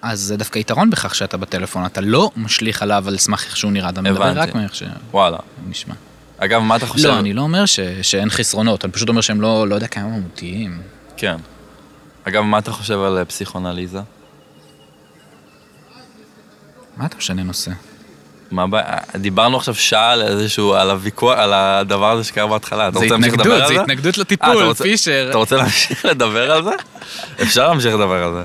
אז זה דווקא יתרון בכך שאתה בטלפון, אתה לא משליך עליו על סמך איך שהוא נראה, אתה מדבר הבנתי. רק מאיך שהוא וואלה. נשמע. אגב, מה אתה חושב? לא, אני לא אומר ש- שאין חסרונות, אני פשוט אומר שהם לא, לא יודע כמה הם אמותיים. כן. אגב, מה אתה חושב על אה, פסיכואנליזה? מה אתה משנה נושא? מה הבעיה? דיברנו עכשיו שעה על איזשהו, על הוויכוח, על הדבר הזה שקרה בהתחלה. אתה זה רוצה להמשיך התנגדות, לדבר על זה? זה התנגדות אה, אתה לטיפול, רוצה- פישר. אתה רוצה להמשיך לדבר על זה? אפשר להמשיך לדבר על זה.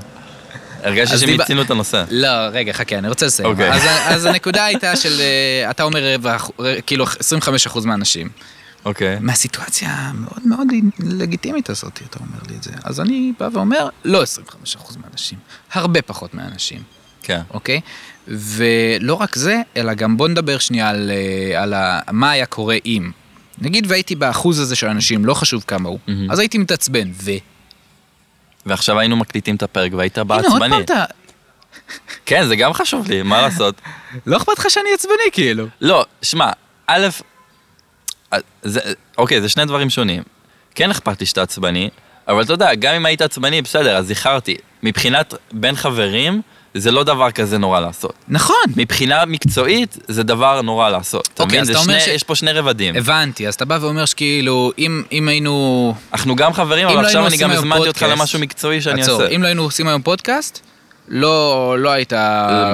הרגשתי אז דיבר- שמיצינו את הנושא. לא, רגע, חכה, אני רוצה לסיים. אוקיי. אז, אז הנקודה הייתה של, אה, אתה אומר רבע, אח- ר- כאילו 25% מהאנשים. אוקיי. מהסיטואציה המאוד מאוד לגיטימית הזאת, אתה אומר לי את זה. אז אני בא ואומר, לא 25% מהאנשים, הרבה פחות מהאנשים. כן. אוקיי? ולא רק זה, אלא גם בוא נדבר שנייה על, אה, על ה, מה היה קורה אם. נגיד והייתי באחוז הזה של אנשים, לא חשוב כמה הוא, מהמם. אז הייתי מתעצבן, ו... ועכשיו היינו מקליטים את הפרק והיית הנה, עוד פעם בעצבני. אתה... כן, זה גם חשוב לי, מה לעשות? לא אכפת לך שאני עצבני, כאילו. לא, שמע, א', אה, זה, אוקיי, זה שני דברים שונים. כן אכפת לי שאתה עצבני, אבל אתה יודע, גם אם היית עצבני, בסדר, אז איחרתי. מבחינת בין חברים, זה לא דבר כזה נורא לעשות. נכון. מבחינה מקצועית, זה דבר נורא לעשות. אתה אוקיי, מבין? אז זה אתה אומר שני- ש- יש פה שני רבדים. הבנתי, אז אתה בא ואומר שכאילו, אם, אם היינו... אנחנו גם חברים, אם אבל לא עכשיו היינו אני גם עושים היום הזמנתי אותך פודקאסט- למשהו מקצועי שאני עצור, אעשה. אם לא היינו עושים היום פודקאסט, לא, לא היית...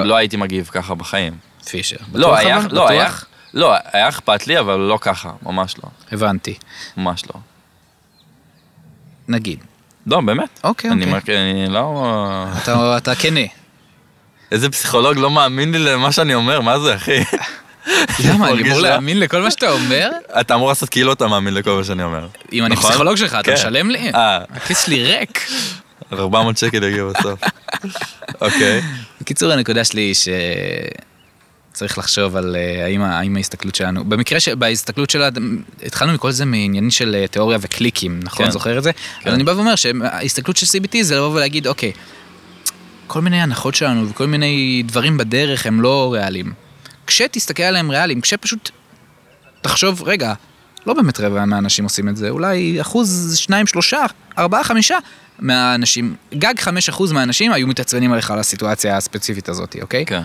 לא הייתי מגיב ככה בחיים. פישר. לא, בטוח היה, אבל? לא, בטוח? היה, לא, היה אכפת לי, אבל לא ככה, ממש לא, הבנתי. ממש לא. נגיד. לא, באמת. אוקיי, אני אוקיי. אומר, אני לא... אתה, אתה כנה. איזה פסיכולוג לא מאמין לי למה שאני אומר, מה זה, אחי? למה, אני מרגיש לא. אמור רע. להאמין לכל מה שאתה אומר? אתה אמור לעשות כאילו אתה מאמין לכל מה שאני אומר. אם אני נכון? פסיכולוג שלך, אתה כן. משלם לי? אה, הכיס שלי ריק. 400 שקל יגיע בסוף. אוקיי. בקיצור, הנקודה שלי היא ש... צריך לחשוב על אה, האם, ה- האם ההסתכלות שלנו, במקרה שבהסתכלות שלה, התחלנו מכל זה מעניינים של אה, תיאוריה וקליקים, נכון? כן. זוכר את זה? כן. אז אני בא ואומר שההסתכלות של CBT זה לבוא ולהגיד, אוקיי, כל מיני הנחות שלנו וכל מיני דברים בדרך הם לא ריאליים. כשתסתכל עליהם ריאליים, כשפשוט תחשוב, רגע, לא באמת רבע מהאנשים עושים את זה, אולי אחוז, שניים, שלושה, ארבעה, חמישה מהאנשים, גג חמש אחוז מהאנשים היו מתעצבנים עליך על הסיטואציה הספציפית הזאת, אוקיי? כן.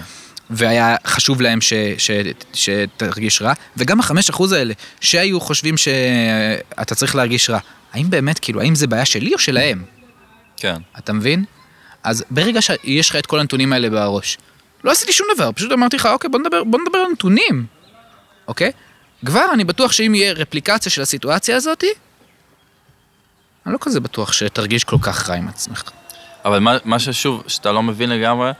והיה חשוב להם ש, ש, שתרגיש רע, וגם החמש אחוז האלה, שהיו חושבים שאתה צריך להרגיש רע, האם באמת, כאילו, האם זה בעיה שלי או שלהם? כן. אתה מבין? אז ברגע שיש לך את כל הנתונים האלה בראש, לא עשיתי שום דבר, פשוט אמרתי לך, אוקיי, בוא נדבר, בוא נדבר על נתונים, אוקיי? כבר אני בטוח שאם יהיה רפליקציה של הסיטואציה הזאתי, אני לא כזה בטוח שתרגיש כל כך רע עם עצמך. אבל מה, מה ששוב, שאתה לא מבין לגמרי,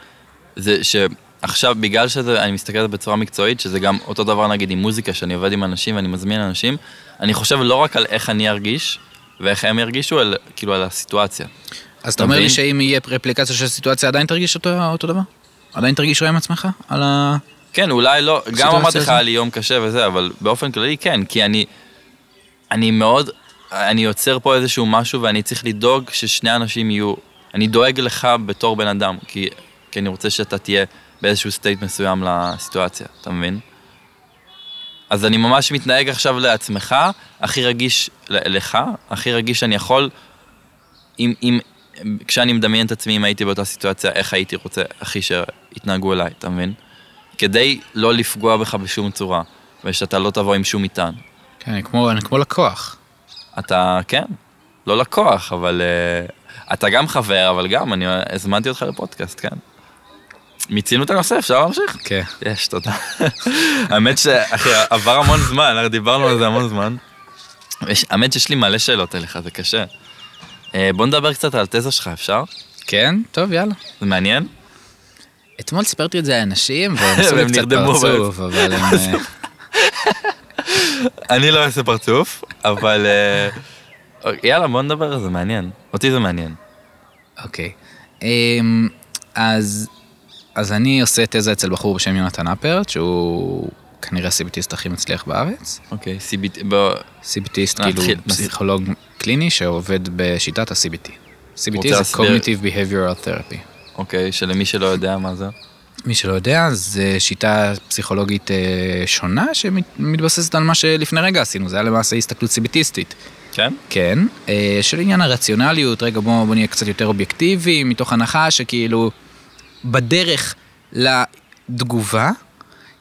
זה שעכשיו, בגלל שזה, אני מסתכל על זה בצורה מקצועית, שזה גם אותו דבר נגיד עם מוזיקה, שאני עובד עם אנשים ואני מזמין אנשים, אני חושב לא רק על איך אני ארגיש, ואיך הם ירגישו, אלא כאילו על הסיטואציה. אז אתה אומר מבין? לי שאם יהיה רפליקציה של הסיטואציה, עדיין תרגיש אותו, אותו דבר? עדיין תרגיש רע עם עצמך? על ה... כן, אולי לא, גם הסיטואציה אמרתי לך הזו? היה לי יום קשה וזה, אבל באופן כללי כן, כי אני, אני מאוד, אני יוצר פה איזשהו משהו ואני צריך לדאוג ששני אנשים יהיו, אני דואג לך בתור בן אדם, כי, כי אני רוצה שאתה תהיה באיזשהו סטייט מסוים לסיטואציה, אתה מבין? אז אני ממש מתנהג עכשיו לעצמך, הכי רגיש ל- לך, הכי רגיש שאני יכול, אם, אם, כשאני מדמיין את עצמי אם הייתי באותה סיטואציה, איך הייתי רוצה, הכי שיתנהגו אליי, אתה מבין? כדי לא לפגוע בך בשום צורה, ושאתה לא תבוא עם שום מטען. כן, אני כמו, אני כמו לקוח. אתה, כן, לא לקוח, אבל... אה, אתה גם חבר, אבל גם, אני הזמנתי אותך לפודקאסט, כן. מיצינו את הנושא, אפשר להמשיך? כן. יש, תודה. האמת שאחי, עבר המון זמן, הרי דיברנו על זה המון זמן. יש- האמת שיש לי מלא שאלות אליך, זה קשה. אה, בוא נדבר קצת על התזה שלך, אפשר? כן? טוב, יאללה. זה מעניין? אתמול סיפרתי את זה לאנשים, והם עשו והם לי קצת נרדמו פרצוף, אבל הם... אה, אני לא אעשה פרצוף, אבל... אה, אוקיי, יאללה, בוא נדבר על זה, מעניין. אותי זה מעניין. אוקיי. אמ, אז אז אני עושה תזה אצל בחור בשם יונתן אפרט, שהוא כנראה הסיבטיסט הכי מצליח בארץ. אוקיי, CBT, בוא... סיבטיסט, נתחיל, כאילו נס- פסיכולוג קליני שעובד בשיטת ה-CBT. CBT זה להסביר? Cognitive Behavioral Therapy. אוקיי, שלמי שלא יודע מה זה. מי שלא יודע, זה שיטה פסיכולוגית אה, שונה שמתבססת על מה שלפני רגע עשינו, זה היה למעשה הסתכלות סיביטיסטית. כן? כן, אה, של עניין הרציונליות, רגע בואו בוא נהיה קצת יותר אובייקטיביים, מתוך הנחה שכאילו בדרך לתגובה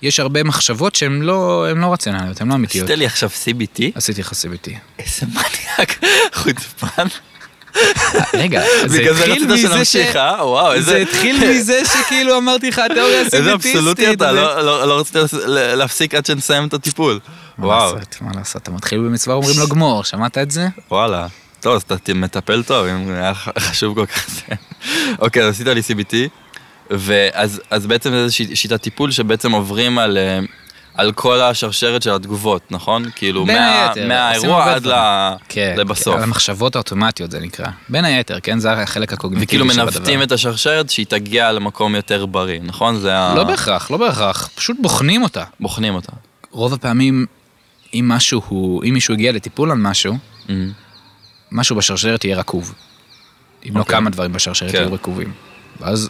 יש הרבה מחשבות שהן לא, הן לא רציונליות, הן לא אמיתיות. עשית לי עכשיו CBT? עשיתי לך CBT. איזה מניאק, חוצפן. אה, רגע, זה בגלל זה התחיל רצית מזה ש... שנמשיך, אה? וואו, איזה... זה התחיל מזה שכאילו אמרתי לך, התיאוריה הסיביטיסטית. איזה אבסולוטי אתה, לא- לא לא רצית לה- להפסיק עד שנסיים את הטיפול. וואו. וואו, מה לעשות, אתה מתחיל במצווה אומרים לו גמור, שמעת את זה? וואלה. טוב, אז אתה ת- מטפל טוב, אם היה לך חשוב כל כך זה. אוקיי, אז עשית לי CBT, ואז אז בעצם זה איזושהי שיטת טיפול שבעצם עוברים על... אה, על כל השרשרת של התגובות, נכון? כאילו, בין מה- היתר, עושים מהאירוע הרבה עד דברים. ל- כן, לבסוף. כן, המחשבות האוטומטיות זה נקרא. בין היתר, כן, זה החלק הקוגניטיבי וכאילו כאילו שבדבר. מנווטים את השרשרת שהיא תגיע למקום יותר בריא, נכון? זה ה... לא בהכרח, לא בהכרח, פשוט בוחנים אותה. בוחנים אותה. רוב הפעמים, אם משהו הוא, אם מישהו הגיע לטיפול על משהו, אמ, משהו בשרשרת יהיה רקוב. אם לא אוקיי. כמה דברים בשרשרת כן. יהיו רקובים. ואז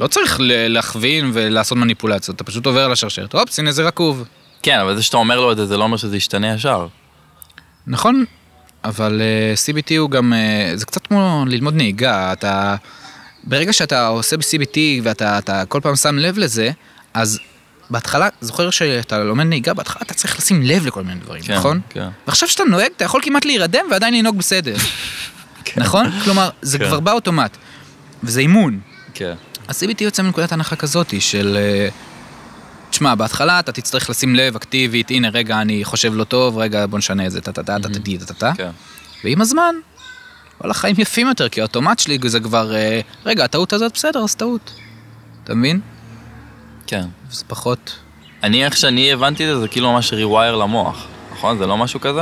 לא צריך ל- להכווין ולעשות מניפולציות, אתה פשוט עובר על השרשרת, אופס, הנה זה רקוב. כן, אבל זה שאתה אומר לו את זה, זה לא אומר שזה ישתנה ישר. נכון, אבל אה, CBT הוא גם, אה, זה קצת כמו ללמוד נהיגה, אתה, ברגע שאתה עושה ב-CBT ואתה אתה כל פעם שם לב לזה, אז בהתחלה, זוכר שאתה לומד נהיגה, בהתחלה אתה צריך לשים לב לכל מיני דברים, כן, נכון? כן. ועכשיו כשאתה נוהג, אתה יכול כמעט להירדם ועדיין לנהוג בסדר, נכון? כלומר, זה כן. כבר באוטומט, וזה אימון. כן. ה-CBT יוצא מנקודת הנחה כזאת של... אה, תשמע, בהתחלה אתה תצטרך לשים לב אקטיבית, הנה רגע אני חושב לא טוב, רגע בוא נשנה את זה, טה טה טה טה טה טה טה טה. כן. ועם הזמן, וואלה חיים יפים יותר, כי האוטומט שלי זה כבר, אה, רגע הטעות הזאת בסדר, אז טעות. אתה מבין? כן. זה פחות... אני, איך שאני הבנתי את זה, זה כאילו ממש rewire למוח, נכון? זה לא משהו כזה?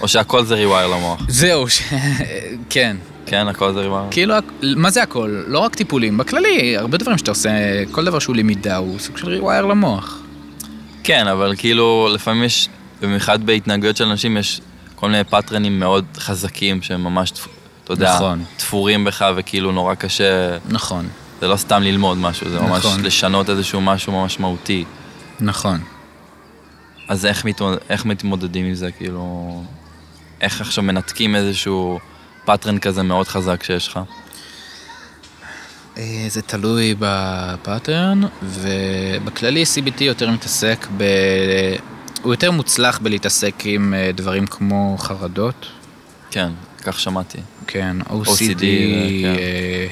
או שהכל זה rewire למוח? זהו, ש... כן. כן, הכל זה rewire? כאילו, מה זה הכל? לא רק טיפולים, בכללי, הרבה דברים שאתה עושה, כל דבר שהוא למידה הוא סוג של rewire למוח. כן, אבל כאילו, לפעמים יש, במיוחד בהתנהגויות של אנשים, יש כל מיני פאטרנים מאוד חזקים, שהם ממש, תפ- אתה יודע, נכון. תפורים בך, וכאילו נורא קשה, נכון, זה לא סתם ללמוד משהו, זה ממש נכון. לשנות איזשהו משהו ממש מהותי. נכון. אז איך, מתמוד... איך מתמודדים עם זה, כאילו... איך עכשיו מנתקים איזשהו פאטרן כזה מאוד חזק שיש לך? אה, זה תלוי בפאטרן, ובכללי CBT יותר מתעסק ב... הוא יותר מוצלח בלהתעסק עם אה, דברים כמו חרדות, כן, כך שמעתי. כן, OCD, OCD, כן. אה,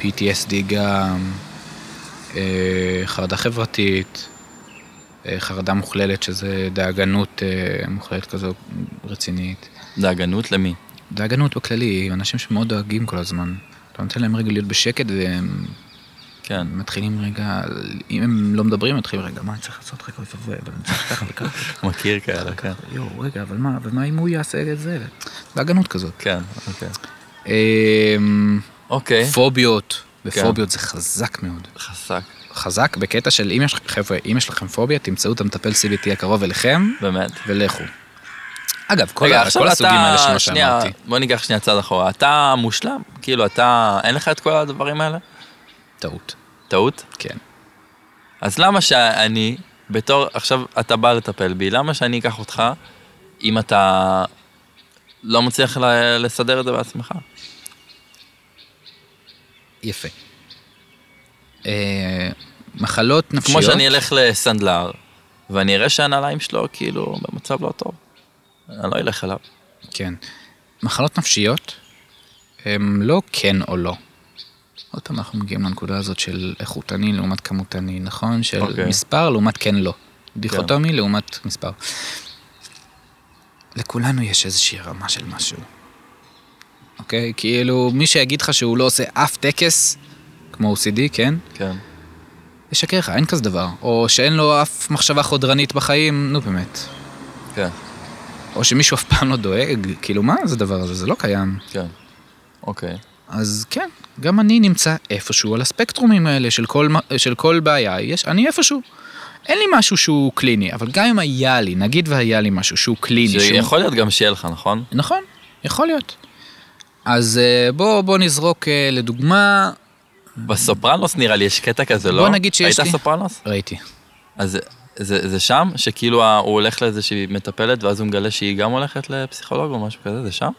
PTSD גם, אה, חרדה חברתית, אה, חרדה מוכללת שזה דאגנות אה, מוכללת כזו רצינית. דאגנות למי? דאגנות בכללי, אנשים שמאוד דואגים כל הזמן. אתה נותן להם רגע להיות בשקט והם כן. מתחילים רגע, אם הם לא מדברים, מתחילים רגע, מה אני צריך לעשות רגע, אוי ואבוי, אבל אני צריך ככה וככה, מכיר כאלה, כן. יואו, רגע, אבל מה, ומה אם הוא יעשה את זה? בהגנות כזאת. כן, אוקיי. אמ, אוקיי. פוביות, כן. ופוביות זה חזק מאוד. חזק. חזק בקטע של אם יש לכם, חבר'ה, אם יש לכם פוביה, תמצאו את המטפל CBT הקרוב אליכם, באמת. ולכו. אגב, כל רגע, ה- עכשיו כל אתה- הסוגים האלה שלא שנייה, שאמרתי. בוא ניקח שנייה צעד אחורה. אתה מושלם? כאילו, אתה... אין לך את כל הדברים האלה? טעות, טעות? כן. אז למה שאני, בתור, עכשיו אתה בא לטפל בי, למה שאני אקח אותך אם אתה לא מצליח ל- לסדר את זה בעצמך? יפה. אה, מחלות נפשיות. כמו שאני אלך לסנדלר, ואני אראה שהנעליים שלו כאילו במצב לא טוב. אני לא אלך אליו. כן. מחלות נפשיות, הם לא כן או לא. עוד פעם אנחנו מגיעים לנקודה הזאת של איכותני לעומת כמותני, נכון? של אוקיי. okay. מספר לעומת כן לא. דיכוטומי yeah. לעומת מספר. לכולנו יש איזושהי רמה של משהו. אוקיי? Okay? כאילו, מי שיגיד לך שהוא לא עושה אף טקס, כמו OCD, כן? כן. ישקר לך, אין כזה דבר. או שאין לו אף מחשבה חודרנית בחיים, נו באמת. כן. או שמישהו אף פעם לא דואג, כאילו מה זה הדבר הזה? זה לא קיים. כן. אוקיי. אז כן, גם אני נמצא איפשהו על הספקטרומים האלה של כל, מה- של כל בעיה, יש, אני איפשהו. אין לי משהו שהוא קליני, אבל גם אם היה לי, נגיד והיה לי משהו שהוא קליני, שהוא... שיכול להיות גם שיהיה לך, נכון? נכון, יכול להיות. אז אה, בוא, בוא נזרוק אה, לדוגמה, בסופרנוס נראה לי יש קטע כזה, לא? בוא נגיד שיש לי- היית סופרנוס? ראיתי, אז זה, זה שם? שכאילו ה- הוא הולך לאיזושהי מטפלת ואז הוא מגלה שהיא גם הולכת לפסיכולוג או משהו כזה, זה שם?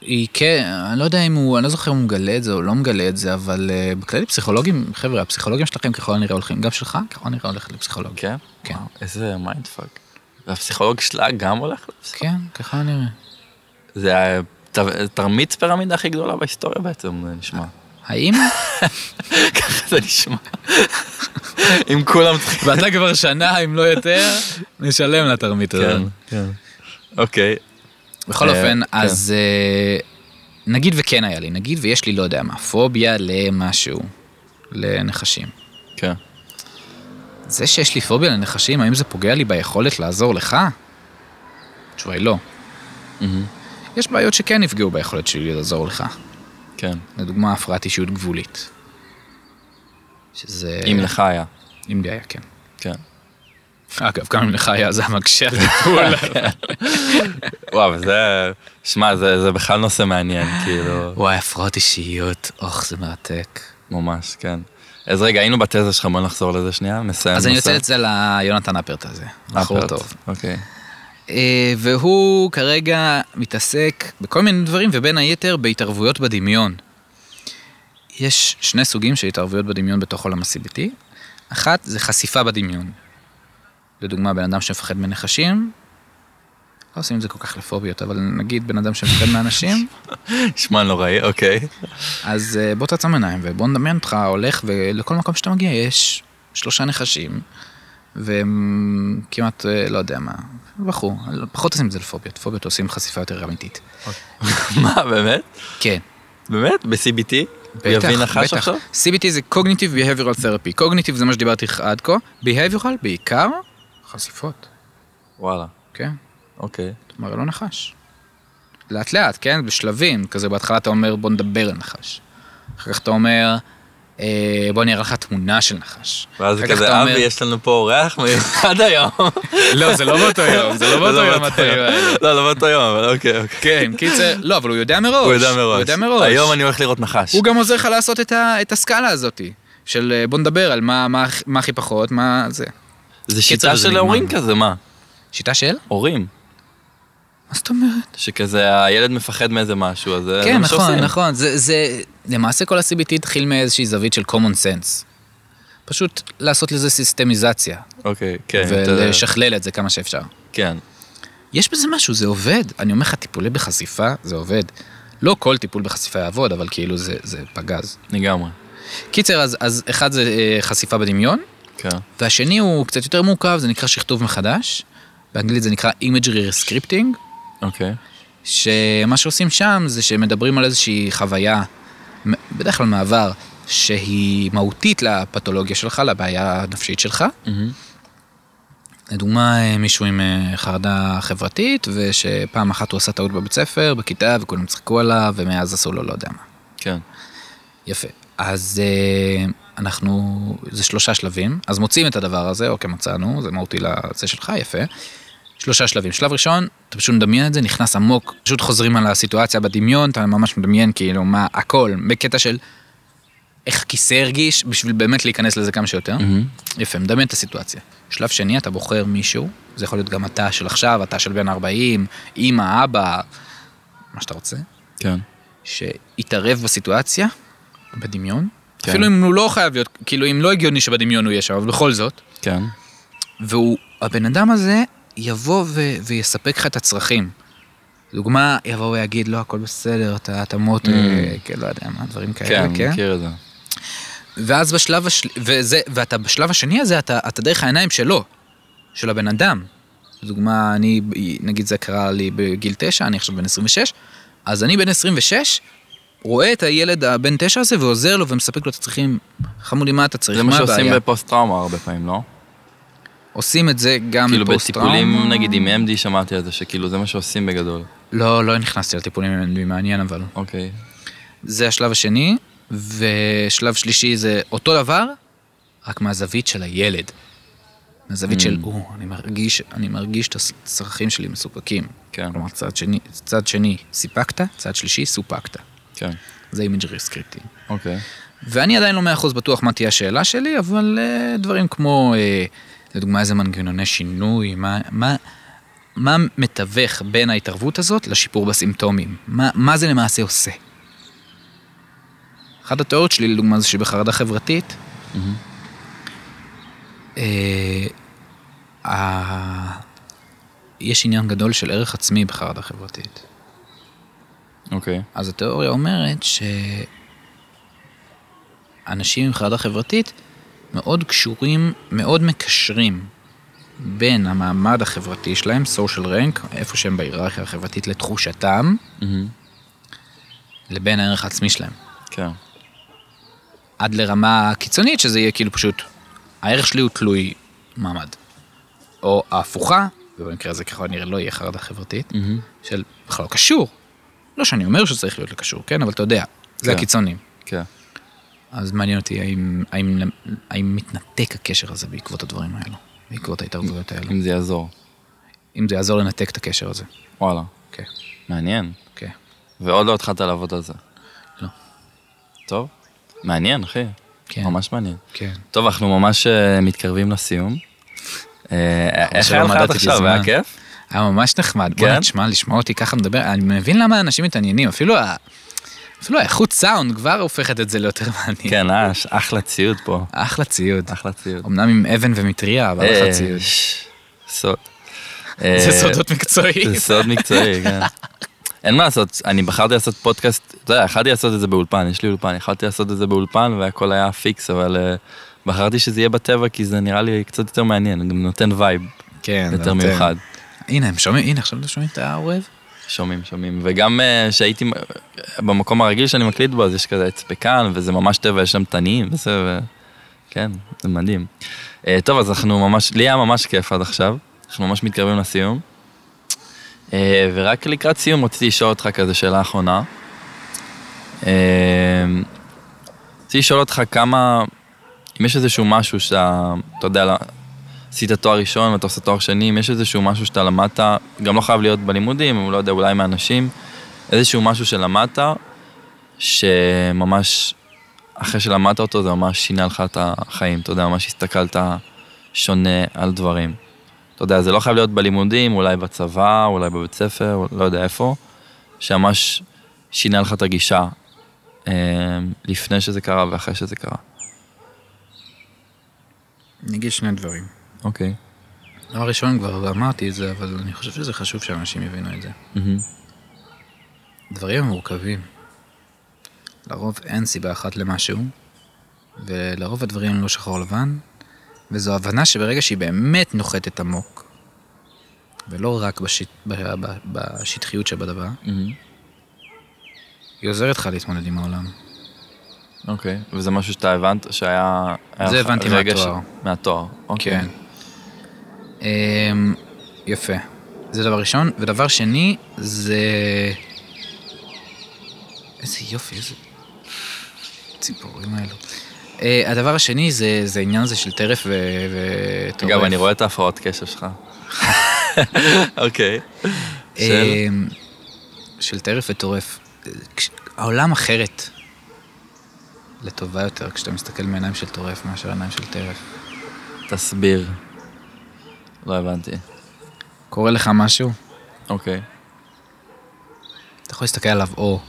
היא כן, אני לא יודע אם הוא, אני לא זוכר אם הוא מגלה את זה או לא מגלה את זה, אבל אה, בכללי פסיכולוגים, חבר'ה, הפסיכולוגים שלכם ככל הנראה הולכים, גם שלך ככל הנראה הולך לפסיכולוג. כן? כן. וואו, איזה מיינד פאק. והפסיכולוג שלה גם הולך לפסיכולוג? כן, ככל הנראה. זה התרמית פירמידה הכי גדולה בהיסטוריה בעצם, זה נשמע. האם? ככה זה נשמע. אם כולם צריכים... ואתה כבר שנה, אם לא יותר, נשלם לתרמית הזאת. כן. אוקיי. בכל אה, אופן, כן. אז אה, נגיד וכן היה לי, נגיד ויש לי, לא יודע מה, פוביה למשהו, לנחשים. כן. זה שיש לי פוביה לנחשים, האם זה פוגע לי ביכולת לעזור לך? התשובה היא לא. יש בעיות שכן יפגעו ביכולת שלי לעזור לך. כן. לדוגמה, הפרעת אישיות גבולית. שזה... אם לך היה. אם לי היה, כן. כן. אגב, גם אם לך היה, זה המקשה על טיפול. וואו, אבל זה... שמע, זה זה בכלל נושא מעניין, כאילו... וואי, הפרעות אישיות, אוח, זה מרתק. ממש, כן. אז רגע, היינו בתזה שלך, בוא נחזור לזה שנייה, נסיים. אז אני נושא. יוצא את זה ליונתן אפרט הזה, בחור אפרט. טוב. אוקיי. אה, והוא כרגע מתעסק בכל מיני דברים, ובין היתר בהתערבויות בדמיון. יש שני סוגים של התערבויות בדמיון בתוך עולם ה-CBT. אחת זה חשיפה בדמיון. לדוגמה, בן אדם שמפחד מנחשים, לא עושים את זה כל כך לפוביות, אבל נגיד בן אדם שמפחד מאנשים, נשמע נוראי, אוקיי. אז אה, בוא תעצום עיניים ובוא נדמיין אותך הולך ולכל מקום שאתה מגיע יש שלושה נחשים והם כמעט אה, לא יודע מה, בחור, לא- פחות עושים את זה לפוביות, פוביות עושים חשיפה יותר אמיתית. מה, באמת? כן. באמת? ב-CBT? הוא יביא נחש עכשיו? CBT זה Cognitive Behavioral Therapy, Cognitive זה מה שדיברתי לך עד כה, Behavioral בעיקר חשיפות, וואלה, כן, אוקיי. אתה מראה לו לא נחש. לאט לאט, כן, בשלבים, כזה בהתחלה אתה אומר בוא נדבר על נחש. אחר כך אתה אומר, אה, בוא אני אראה לך תמונה של נחש. ואז זה אחר כך כזה, אתה אומר- אבי, יש לנו פה אורח מיוחד היום. לא, זה לא באותו יום, זה לא באותו יום התאים האלה. לא, לא באותו יום, אבל אוקיי, אוקיי. כן, קיצר, לא, אבל הוא יודע מראש. הוא יודע מראש. הוא יודע מראש. היום אני הולך לראות נחש. הוא גם עוזר לך לעשות את ה- את הסקאלה הזאתי. של אה, בוא נדבר על מה- מה הכי- מה הכי פחות, מה זה. זה שיטה קצר, זה של נגמר. הורים כזה, מה? שיטה של? הורים. מה זאת אומרת? שכזה, הילד מפחד מאיזה משהו, אז זה כן, מה נכון, שעושים. נכון. זה- זה, למעשה כל ה-CBT התחיל מאיזושהי זווית של common sense. פשוט לעשות לזה סיסטמיזציה, אוקיי, כן. אתה יודע. ולשכלל את זה כמה שאפשר. כן, יש בזה משהו, זה עובד. אני אומר לך, טיפולי בחשיפה, זה עובד. לא כל טיפול בחשיפה יעבוד, אבל כאילו זה, זה פגז. לגמרי. קיצר, אז, אז אחד זה אה, חשיפה בדמיון, כן. והשני הוא קצת יותר מורכב, זה נקרא שכתוב מחדש. באנגלית זה נקרא imagery rescripting, אוקיי. שמה שעושים שם זה שמדברים על איזושהי חוויה, מ- בדרך כלל מעבר, שהיא מהותית לפתולוגיה שלך, לבעיה הנפשית שלך. מהמם. לדוגמה, אה, מישהו עם אה, חרדה חברתית, ושפעם אחת הוא עשה טעות בבית ספר, בכיתה, וכולם צחקו עליו, ומאז עשו לו לא יודע מה. כן. יפה. אז אה, אנחנו, זה שלושה שלבים, אז מוצאים את הדבר הזה, אוקיי, מצאנו, זה מהותי לזה שלך, יפה. שלושה שלבים. שלב ראשון, אתה פשוט מדמיין את זה, נכנס עמוק, פשוט חוזרים על הסיטואציה בדמיון, אתה ממש מדמיין כאילו מה, הכל, בקטע של איך הכיסא הרגיש, בשביל באמת להיכנס לזה כמה שיותר. מהמם. יפה, מדמיין את הסיטואציה. שלב שני, אתה בוחר מישהו, זה יכול להיות גם אתה של עכשיו, אתה של בן 40, אימא, אבא, מה שאתה רוצה. כן. שיתערב בסיטואציה, בדמיון. כן. כן. אפילו אם הוא לא חייב להיות, כאילו אם לא הגיוני שבדמיון הוא יהיה שם, אבל בכל זאת. כן. והוא, הבן אדם הזה יבוא ו- ויספק לך את הצרכים. דוגמה, יבוא ויגיד, לא, הכל בסדר, אתה תמות, Mm. אה, כן, לא יודע מה, דברים כאלה, כן, כן? מכיר את זה. ואז בשלב השני, וזה, ואתה בשלב השני הזה, אתה, אתה דרך העיניים שלו, של הבן אדם. לדוגמה, אני, נגיד זה קרה לי בגיל 9, אני עכשיו בן 26, אז אני בן 26, רואה את הילד הבן 9 הזה ועוזר לו ומספק לו את הצרכים. חמודי, מה אתה צריך? זה מה מה הבעיה? שעושים בפוסט-טראומה הרבה פעמים, לא? עושים את זה גם כאילו בפוסט-טראומה. בטיפולים, נגיד עם MD שמעתי על זה, שכאילו זה מה שעושים בגדול. לא, לא נכנסתי לטיפולים, זה מעניין אבל. אוקיי. זה השלב השני, ושלב שלישי זה אותו דבר, רק מהזווית של הילד. מהזווית של, או, אני מרגיש, אני מרגיש את הצרכים שלי מסופקים. כן. כלומר, צד שני, צד שני סיפקת, צד שלישי סופקת. כן, זה אימג'רי סקריפטי. אוקיי. ואני עדיין לא מאה אחוז בטוח מה תהיה השאלה שלי, אבל אה, דברים כמו, אה, לדוגמה, איזה מנגנוני שינוי, מה, מה, מה מתווך בין ההתערבות הזאת לשיפור בסימפטומים? מה, מה זה למעשה עושה? אחת התיאוריות שלי, לדוגמה, זה שבחרדה חברתית, אה, ה- יש עניין גדול של ערך עצמי בחרדה חברתית. אוקיי. אז התיאוריה אומרת שאנשים עם חרדה חברתית מאוד קשורים, מאוד מקשרים בין המעמד החברתי שלהם, social rank, איפה שהם בהיררכיה החברתית לתחושתם, מהמם. לבין הערך העצמי שלהם. כן. עד לרמה קיצונית שזה יהיה כאילו פשוט, הערך שלי הוא תלוי מעמד. או ההפוכה, ובמקרה הזה ככל הנראה לא יהיה חרדה חברתית, מהמם. של בכלל לא קשור. לא שאני אומר שצריך להיות לקשור, כן? אבל אתה יודע, זה כן. הקיצונים. כן. אז מעניין אותי האם, האם, האם מתנתק הקשר הזה בעקבות הדברים האלו, בעקבות ההתערבויות האלו. אם זה יעזור. אם זה יעזור לנתק את הקשר הזה. וואלה. אוקיי, מעניין. אוקיי. ועוד לא התחלת לעבוד על זה. לא. טוב. מעניין, אחי. כן. ממש מעניין. כן. טוב, אנחנו ממש אה, מתקרבים לסיום. אה, איך שלא היה לך עד מדדתי עכשיו? בזמן. היה כיף? היה ממש נחמד. כן? בוא נשמע, לשמוע אותי ככה מדבר, אני מבין למה אנשים מתעניינים, אפילו, ה... אפילו האיכות סאונד כבר הופכת את זה ליותר מעניין. כן, אה, ש- אחלה ציוד פה. אחלה ציוד. אחלה ציוד. אמנם עם אבן ומטריה, אבל אחלה אה, ציוד. ש- סוד. זה אה, סודות מקצועיים. זה סוד מקצועי, כן. אין מה לעשות, אני בחרתי לעשות פודקאסט, אתה יודע, יכלתי לעשות את זה באולפן, יש לי אולפן, יכלתי לעשות את זה באולפן והכל היה פיקס, אבל אה, בחרתי שזה יהיה בטבע כי זה נראה לי קצת יותר מעניין, גם נותן וייב כן, זה יותר נותן. מיוחד. העורב. הנה, הם שומעים, הנה, עכשיו אתם שומעים את העורב? שומעים, שומעים. וגם אה, שהייתי מ- במקום הרגיל שאני מקליט בו, אז יש כזה אצפקן, וזה ממש טבע, יש שם תניים, וזה, ו... כן, זה מדהים. אה, טוב, אז אנחנו ממש, לי היה ממש כיף עד עכשיו, אנחנו ממש מתקרבים לסיום. אה, ורק לקראת סיום רציתי לשאול אותך כזה שאלה אחרונה. אה, רציתי לשאול אותך כמה, אם יש איזשהו משהו שאתה, אתה יודע, לא- עשית תואר ראשון ואתה עושה תואר שני, אם יש איזשהו משהו שאתה למדת, גם לא חייב להיות בלימודים, הוא לא יודע, אולי מאנשים, איזשהו משהו שלמדת, שממש, אחרי שלמדת אותו, זה ממש שינה לך את החיים, אתה יודע, ממש הסתכלת שונה על דברים. אתה יודע, זה לא חייב להיות בלימודים, אולי בצבא, אולי בבית ספר, לא יודע איפה, שממש שינה לך את הגישה אה, לפני שזה קרה ואחרי שזה קרה. אני אגיד שני דברים. אוקיי. דבר ראשון, כבר אמרתי את זה, אבל אני חושב שזה חשוב שאנשים יבינו את זה. מהמם. דברים הם מורכבים. לרוב אין סיבה אחת למשהו, ולרוב הדברים הם לא שחור לבן, וזו הבנה שברגע שהיא באמת נוחתת עמוק, ולא רק בשט... ב... ב... בשטחיות שבדבר, מהמם. היא עוזרת לך להתמודד עם העולם. אוקיי, וזה משהו שאתה הבנת, שהיה... היה זה לך הבנתי רגע מהתואר. ש- מהתואר, אוקיי. כן. אמ, יפה. זה דבר ראשון. ודבר שני, זה... איזה יופי, איזה... ציפורים האלו. אה, הדבר השני זה, זה עניין הזה של טרף ו... וטורף. אגב, אני רואה את ההפרעות קשב שלך. אוקיי. אה, של? של טרף וטורף. אה, כש- העולם אחרת. לטובה יותר, כשאתה מסתכל מעיניים של טורף מאשר עיניים של טרף. תסביר. לא הבנתי. קורה לך משהו? אוקיי. אתה יכול להסתכל עליו או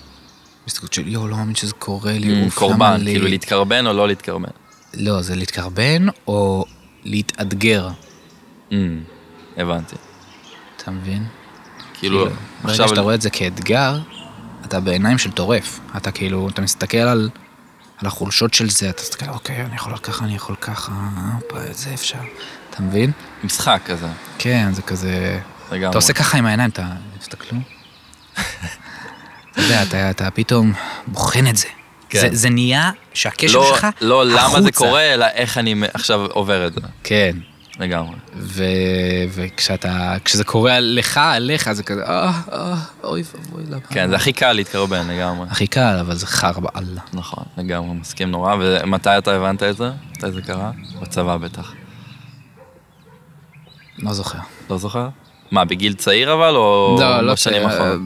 בהסתכלות של יואו, לא מאמין שזה קורה לי, עם אוף, קורבן, למה לי?" כאילו להתקרבן או לא להתקרבן. לא, זה להתקרבן או להתאתגר, Mm, הבנתי. אתה מבין? כאילו, ברגע עכשיו... שאתה רואה את זה כאתגר, אתה בעיניים של טורף. אתה כאילו, אתה מסתכל על, על החולשות של זה, אתה מסתכל, אוקיי, אני יכול ככה, אני יכול ככה, הופה, זה אפשר. אתה מבין? משחק כזה, כן, זה כזה... לגמרי. אתה עושה ככה עם העיניים, אתה... תסתכלו. אתה יודע, אתה, אתה פתאום בוחן את זה. כן. זה, זה נהיה שהקשר לא, שלך לא החוצה. למה זה קורה, אלא איך אני מ- עכשיו עובר את זה. כן. לגמרי. ו... וכשאתה... כשזה קורה לך, עליך, זה כזה, אה, אה, אוי ואבוי, למה? כן, זה הכי קל להתקרבן לגמרי. הכי קל, אבל זה חרא באללה. נכון, לגמרי, מסכים נורא. ומתי אתה הבנת את זה? מתי זה קרה? בצבא בטח. לא זוכר. לא זוכר? מה, בגיל צעיר אבל, או בשנים אה, האחרונות?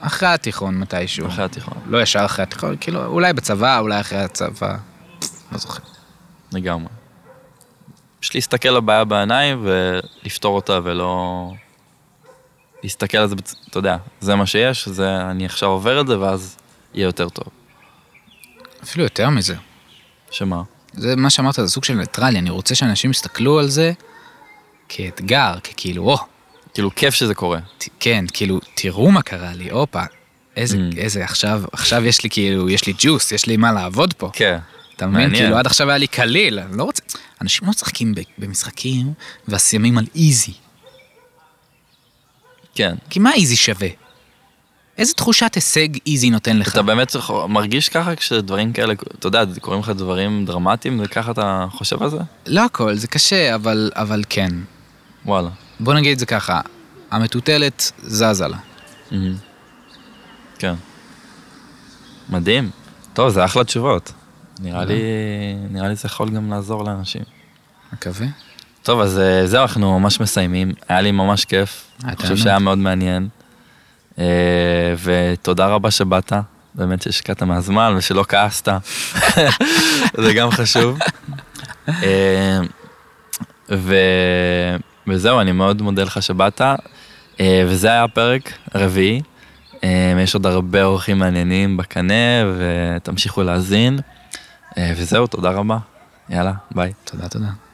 אחרי התיכון מתישהו. אחרי התיכון, לא ישר אחרי התיכון, כאילו, אולי בצבא, אולי אחרי הצבא. לא זוכר. לגמרי. יש להסתכל לבעיה בעיניים ולפתור אותה ולא... להסתכל על זה, בצ... אתה יודע, זה מה שיש, זה, אני עכשיו עובר את זה ואז יהיה יותר טוב. אפילו יותר מזה. שמה? זה מה שאמרת, זה סוג של ניטרלי, אני רוצה שאנשים יסתכלו על זה כאתגר, ככאילו, או, כאילו, כיף שזה קורה. ת, כן, כאילו, תראו מה קרה לי, הופה, איזה, Mm. איזה, עכשיו, עכשיו יש לי כאילו, יש לי ג'וס, יש לי מה לעבוד פה. כן. אתה מבין? מעניין. כאילו, עד עכשיו היה לי קליל, אני לא רוצה... אנשים לא משחקים ב- במשחקים ואסיימים על איזי. כן. כי מה איזי שווה? איזה תחושת הישג איזי נותן לך? אתה באמת צריך- מרגיש ככה כשדברים כאלה, אתה יודע, קורים לך דברים דרמטיים, וככה אתה חושב על זה? לא הכל, זה קשה, אבל, אבל כן. וואלה. בוא נגיד את זה ככה, המטוטלת זזה לה. מהמם. כן. מדהים. טוב, זה אחלה תשובות. נראה לי, נראה לי זה יכול גם לעזור לאנשים. מקווה. טוב, אז אה, זהו, אנחנו ממש מסיימים. היה לי ממש כיף. היה אני חושב תענוג. שהיה מאוד מעניין. אה, ותודה רבה שבאת. באמת שהשקעת מהזמן ושלא כעסת. זה גם חשוב. אה, ו... וזהו, אני מאוד מודה לך שבאת. אה, וזה היה הפרק הרביעי. אה, יש עוד הרבה אורחים מעניינים בקנה, ותמשיכו להאזין. אה, וזהו, תודה רבה. יאללה, ביי. תודה, תודה.